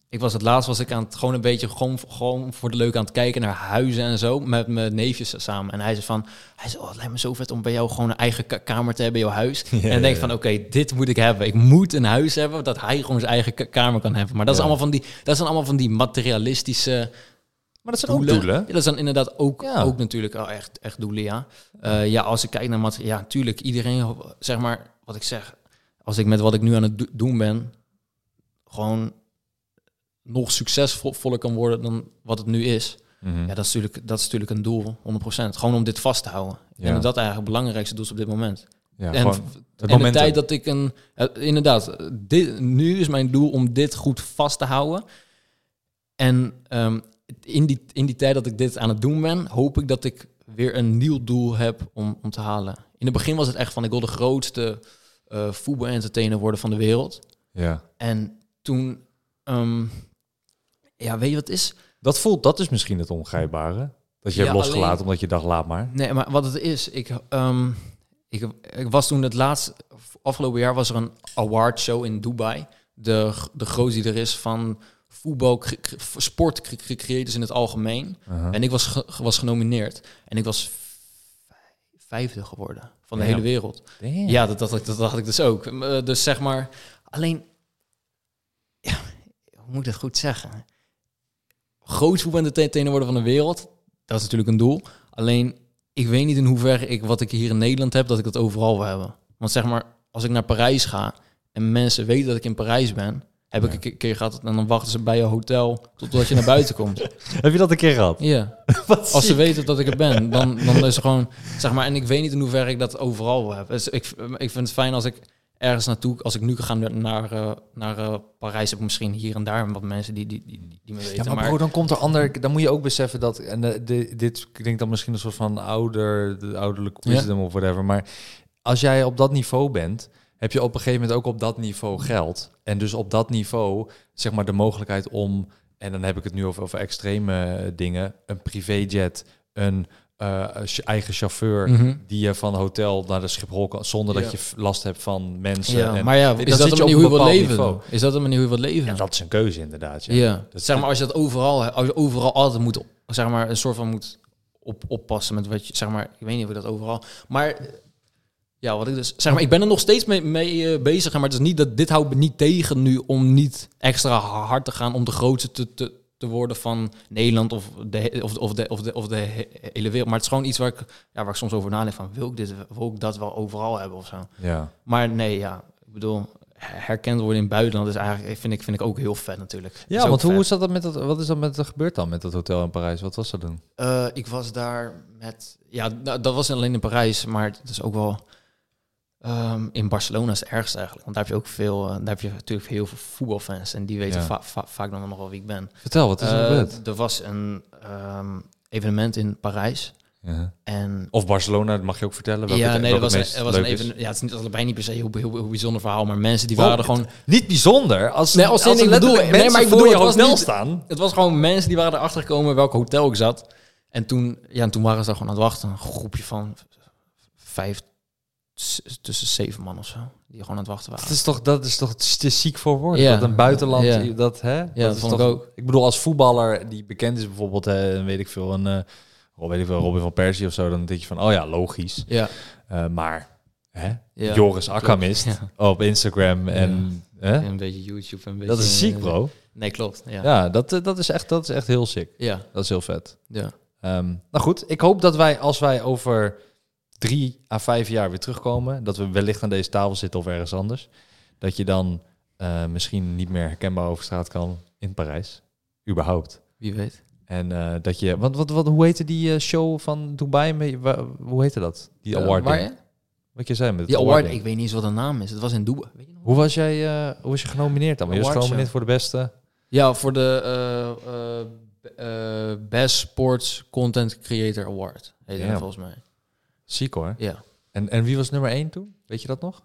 B: ik was het laatst was ik aan het gewoon een beetje gewoon, gewoon voor de leuk aan het kijken naar huizen en zo met mijn neefjes samen. En hij zei van, hij zei, oh, het lijkt me zo vet om bij jou gewoon een eigen ka- kamer te hebben in jouw huis. en dan denk ik van, oké, dit moet ik hebben. Ik moet een huis hebben dat hij gewoon zijn eigen ka- kamer kan hebben. Maar dat, is
A: Ja.
B: allemaal van die, dat zijn allemaal van die materialistische
A: Maar dat zijn ook
B: doelen.
A: doelen.
B: Ja, dat zijn inderdaad ook,
A: Ja.
B: ook natuurlijk wel echt, echt doelen, ja. Eh, ja, als ik kijk naar wat... Ja, natuurlijk, iedereen, ho- zeg maar, wat ik zeg... Als ik met wat ik nu aan het do- doen ben... gewoon nog succesvoller kan worden dan wat het nu is.
A: Mhm.
B: Ja, dat is natuurlijk, dat is natuurlijk een doel, 100%. Gewoon om dit vast te houden.
A: Ja.
B: En dat eigenlijk het belangrijkste doel is op dit moment.
A: Ja,
B: en
A: gewoon
B: v-
A: het
B: en de
A: momentum.
B: tijd dat ik een... eh, inderdaad, eh, dit, nu is mijn doel om dit goed vast te houden. En ehm, in, die, in die tijd dat ik dit aan het doen ben, hoop ik dat ik weer een nieuw doel heb om, om te halen. In het begin was het echt van, ik wil de grootste eh voetbal-entertainer worden van de wereld.
A: Ja.
B: En toen... ehm, ja, weet je wat het is?
A: Dat voelt, dat is misschien het ongrijpbare. Dat je
B: Ja,
A: hebt losgelaten
B: alleen-
A: omdat je dacht, laat maar.
B: Nee, maar wat het is, ik, ehm, ik, ik was toen het laatst, afgelopen jaar was er een awardshow in Dubai. De, gr- de grootste die er is van voetbal, cre- cre- sport, cre- cre- creators in het algemeen. En ik was, ge- was genomineerd en ik was vij- vijfde geworden van de
A: Ja.
B: hele wereld.
A: Damn.
B: Ja, dat, dat, dat dacht ik dus ook. Eh, Dus zeg maar, alleen, ja, hoe moet ik dat goed zeggen? Groot voetbalentertainer worden van de wereld, dat is natuurlijk een doel. Alleen, ik weet niet in hoeverre ik wat ik hier in Nederland heb, dat ik dat overal wil hebben. Want zeg maar, als ik naar Parijs ga en mensen weten dat ik in Parijs ben, heb ik een keer gehad en dan wachten ze bij je hotel totdat je naar buiten komt.
A: Heb je dat een keer gehad?
B: Ja. Als ze weten dat ik er ben, dan, dan is er gewoon, zeg maar, en ik weet niet in hoeverre ik dat overal wil hebben. Dus ik, ik vind het fijn als ik ergens naartoe, als ik nu ga naar, naar, eh, naar eh, Parijs, heb ik misschien hier en daar wat mensen die, die, die, die me
A: Ja,
B: weten.
A: maar,
B: maar
A: bro, dan komt er ander... Dan moet je ook beseffen dat... En eh, de- dit klinkt dan misschien een soort van ouder, de ouderlijk
B: Ja.
A: wisdom of whatever. Maar als jij op dat niveau bent, heb je op een gegeven moment ook op dat niveau geld. En dus op dat niveau, zeg maar, de mogelijkheid om... En dan heb ik het nu over, over extreme eh, dingen. Een privéjet, een... eh, als je eigen chauffeur
B: Mhm.
A: die je van hotel naar de Schiphol kan, zonder
B: Ja.
A: dat je f- last hebt van mensen.
B: Ja,
A: en,
B: maar ja,
A: dan
B: is
A: eh, zit
B: dat
A: je
B: een
A: op
B: manier
A: een
B: hoe je wilt
A: bepaald
B: leven?
A: niveau.
B: Is dat een manier hoe je wilt leven?
A: ja, dat is een keuze inderdaad. Ja.
B: Ja.
A: Dat-
B: zeg maar, als je dat overal, als je overal altijd moet, op- zeg maar, een soort van moet op, oppassen met wat je, zeg maar, ik weet niet of ik dat overal, maar eh, ja, wat ik dus, zeg maar, ik ben er nog steeds mee, mee eh, bezig, maar het is niet dat dit houdt me niet tegen nu om niet extra hard te gaan om de grootste te, te, te worden van Nederland of de, he- of, of de, of de, of de he- hele wereld. Maar het is gewoon iets waar ik, ja, waar ik soms over nadenk van, wil ik dit, wil ik dat wel overal hebben of zo?
A: ja.
B: Maar nee, ja, ik bedoel, herkend worden in het buitenland is eigenlijk, vind ik, vind ik ook heel vet natuurlijk. Is
A: Ja,
B: ook
A: want hoe
B: vet.
A: is dat dan met dat? Wat is dat met dat gebeurd dan met dat hotel in Parijs? Wat was dat dan?
B: Eh, ik was daar met... Ja, nou, dat was alleen in Parijs, maar het is ook wel... ehm, in Barcelona is het ergste eigenlijk. Want daar heb je ook veel... eh, daar heb je natuurlijk heel veel voetbalfans. En die weten
A: Ja.
B: va- va- vaak dan nog wel wie ik ben.
A: Vertel, wat is er
B: Eh,
A: gebeurd?
B: er was een ehm, evenement in Parijs.
A: Ja.
B: En
A: Of Barcelona, dat mag je ook vertellen. welke
B: ja,
A: het-
B: nee,
A: welke
B: dat was,
A: het
B: een,
A: meest
B: er was een
A: leuk is.
B: even. Ja, het is niet allebei niet per se heel, heel, heel bijzonder verhaal, maar mensen die
A: Wow,
B: waren gewoon.
A: Niet bijzonder. Als,
B: Nee, als
A: er
B: in, ik
A: letterlijk
B: bedoel- nee,
A: mensen
B: maar ik
A: voor
B: bedoel,
A: je
B: het was
A: hotel
B: niet-
A: staan.
B: Het was gewoon mensen die waren erachter gekomen welk hotel ik zat. En toen, ja, en toen waren ze daar gewoon aan het wachten. Een groepje van vijf, s- tussen zeven man of zo. Die gewoon aan het wachten
A: Dat
B: waren.
A: is toch, dat is toch te ziek voor woorden.
B: Ja.
A: Dat een buitenland,
B: Ja.
A: dat hè?
B: dat
A: is
B: vond ik
A: toch,
B: ook.
A: Ik bedoel, als voetballer die bekend is bijvoorbeeld, eh, weet ik veel, een, eh, oh, weet ik veel, Robin van Persie of zo, dan denk je van, oh ja, logisch.
B: Ja,
A: Eh, maar hè?
B: Ja.
A: Joris Akkamist
B: Ja.
A: op Instagram en hè?
B: en een beetje YouTube. en Een beetje,
A: dat is ziek, bro.
B: Nee, klopt. Ja.
A: Ja,
B: Ja.
A: dat, eh, dat, is echt, dat is echt heel sick.
B: ja.
A: Dat is heel vet. Ehm, nou goed, ik hoop dat wij als wij over drie à vijf jaar weer terugkomen, dat we wellicht aan deze tafel zitten of ergens anders, dat je dan eh, misschien niet meer herkenbaar over straat kan in Parijs, überhaupt.
B: Wie weet.
A: En eh, dat je, want wat, wat, hoe heette die eh, show van Dubai? Met- wa- hoe heette dat? Die
B: Eh,
A: award.
B: waar
A: ding.
B: je?
A: Wat je zei met het
B: Die
A: award.
B: award,
A: ding.
B: ik weet niet eens wat de naam is. Het was in Dubai. Weet je nog?
A: Hoe was jij, eh, hoe was je genomineerd dan? Maar Je was
B: Awards,
A: genomineerd voor de beste.
B: Ja, voor de eh, eh, b- eh, Best Sports Content Creator Award. Heet
A: Ja.
B: dat volgens mij.
A: Ziek hoor.
B: Ja.
A: En, en wie was nummer één toen? Weet je dat nog?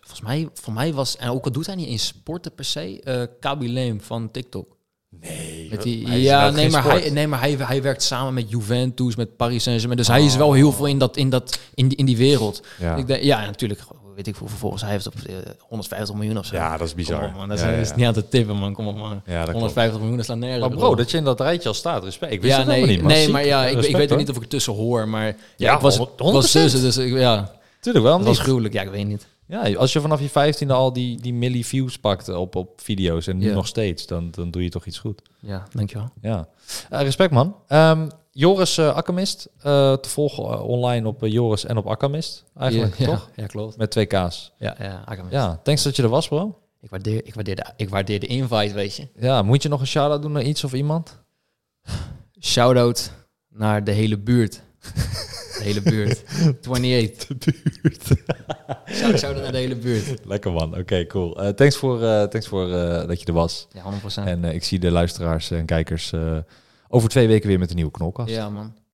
B: Volgens mij, voor mij was, en ook al doet hij niet in sporten per se, eh Kaby Leem van TikTok.
A: Nee.
B: Met die, ja, nee, maar, hij, nee, maar hij, hij werkt samen met Juventus, met Paris Saint-Germain. Dus hij is wel heel veel in, dat, in, dat, in, die, in die wereld.
A: Ah. Ja.
B: Ik denk, ja, en natuurlijk, weet ik hoeveel volgens hij heeft op eh, 150 miljoen of zo.
A: ja, dat is bizar.
B: Kom op, man. Dat is,
A: Ja, ja,
B: dat is
A: ja.
B: dus niet aan te tippen, man. Kom op, man.
A: Ja, dat klopt.
B: 150 miljoen, dat slaat nergens
A: Maar
B: op.
A: bro, dat je in dat rijtje al staat, respect. Ik wist
B: ja,
A: het
B: nee,
A: helemaal niet, maar
B: nee,
A: ziek.
B: maar ja, ik,
A: Respect,
B: ik weet ook
A: hoor.
B: niet of ik het tussen hoor, maar ja,
A: Ja,
B: ik was, ik
A: 100%.
B: was tussen, dus ik, ja,
A: Tuurlijk wel,
B: dat was
A: niet.
B: gruwelijk. Ja, ik weet niet.
A: Ja, als je vanaf je vijftiende al die, die milli views pakt op, op video's en nu
B: Ja.
A: nog steeds, dan, dan doe je toch iets goed.
B: Ja, dankjewel.
A: Ja. Eh, respect, man. Ehm, Joris eh Akkamist, eh, te volgen eh, online op eh, Joris en op Akkamist, eigenlijk,
B: ja,
A: toch?
B: Ja, klopt.
A: Met twee K's.
B: Ja, ja, Akkermans.
A: Ja, thanks dat je er was, bro.
B: Ik waardeer, ik, waardeer de, ik waardeer de invite, weet je.
A: Ja, moet je nog een shout-out doen naar iets of iemand?
B: Shout-out naar de hele buurt. De hele buurt. 28. De buurt. Shout-out naar de hele buurt.
A: Lekker man, oké, cool. Eh, thanks voor, eh, thanks voor eh, dat je er was.
B: Ja, 100%.
A: En eh, ik zie de luisteraars en kijkers eh, over twee weken weer met een nieuwe knolkast.
B: Ja, man.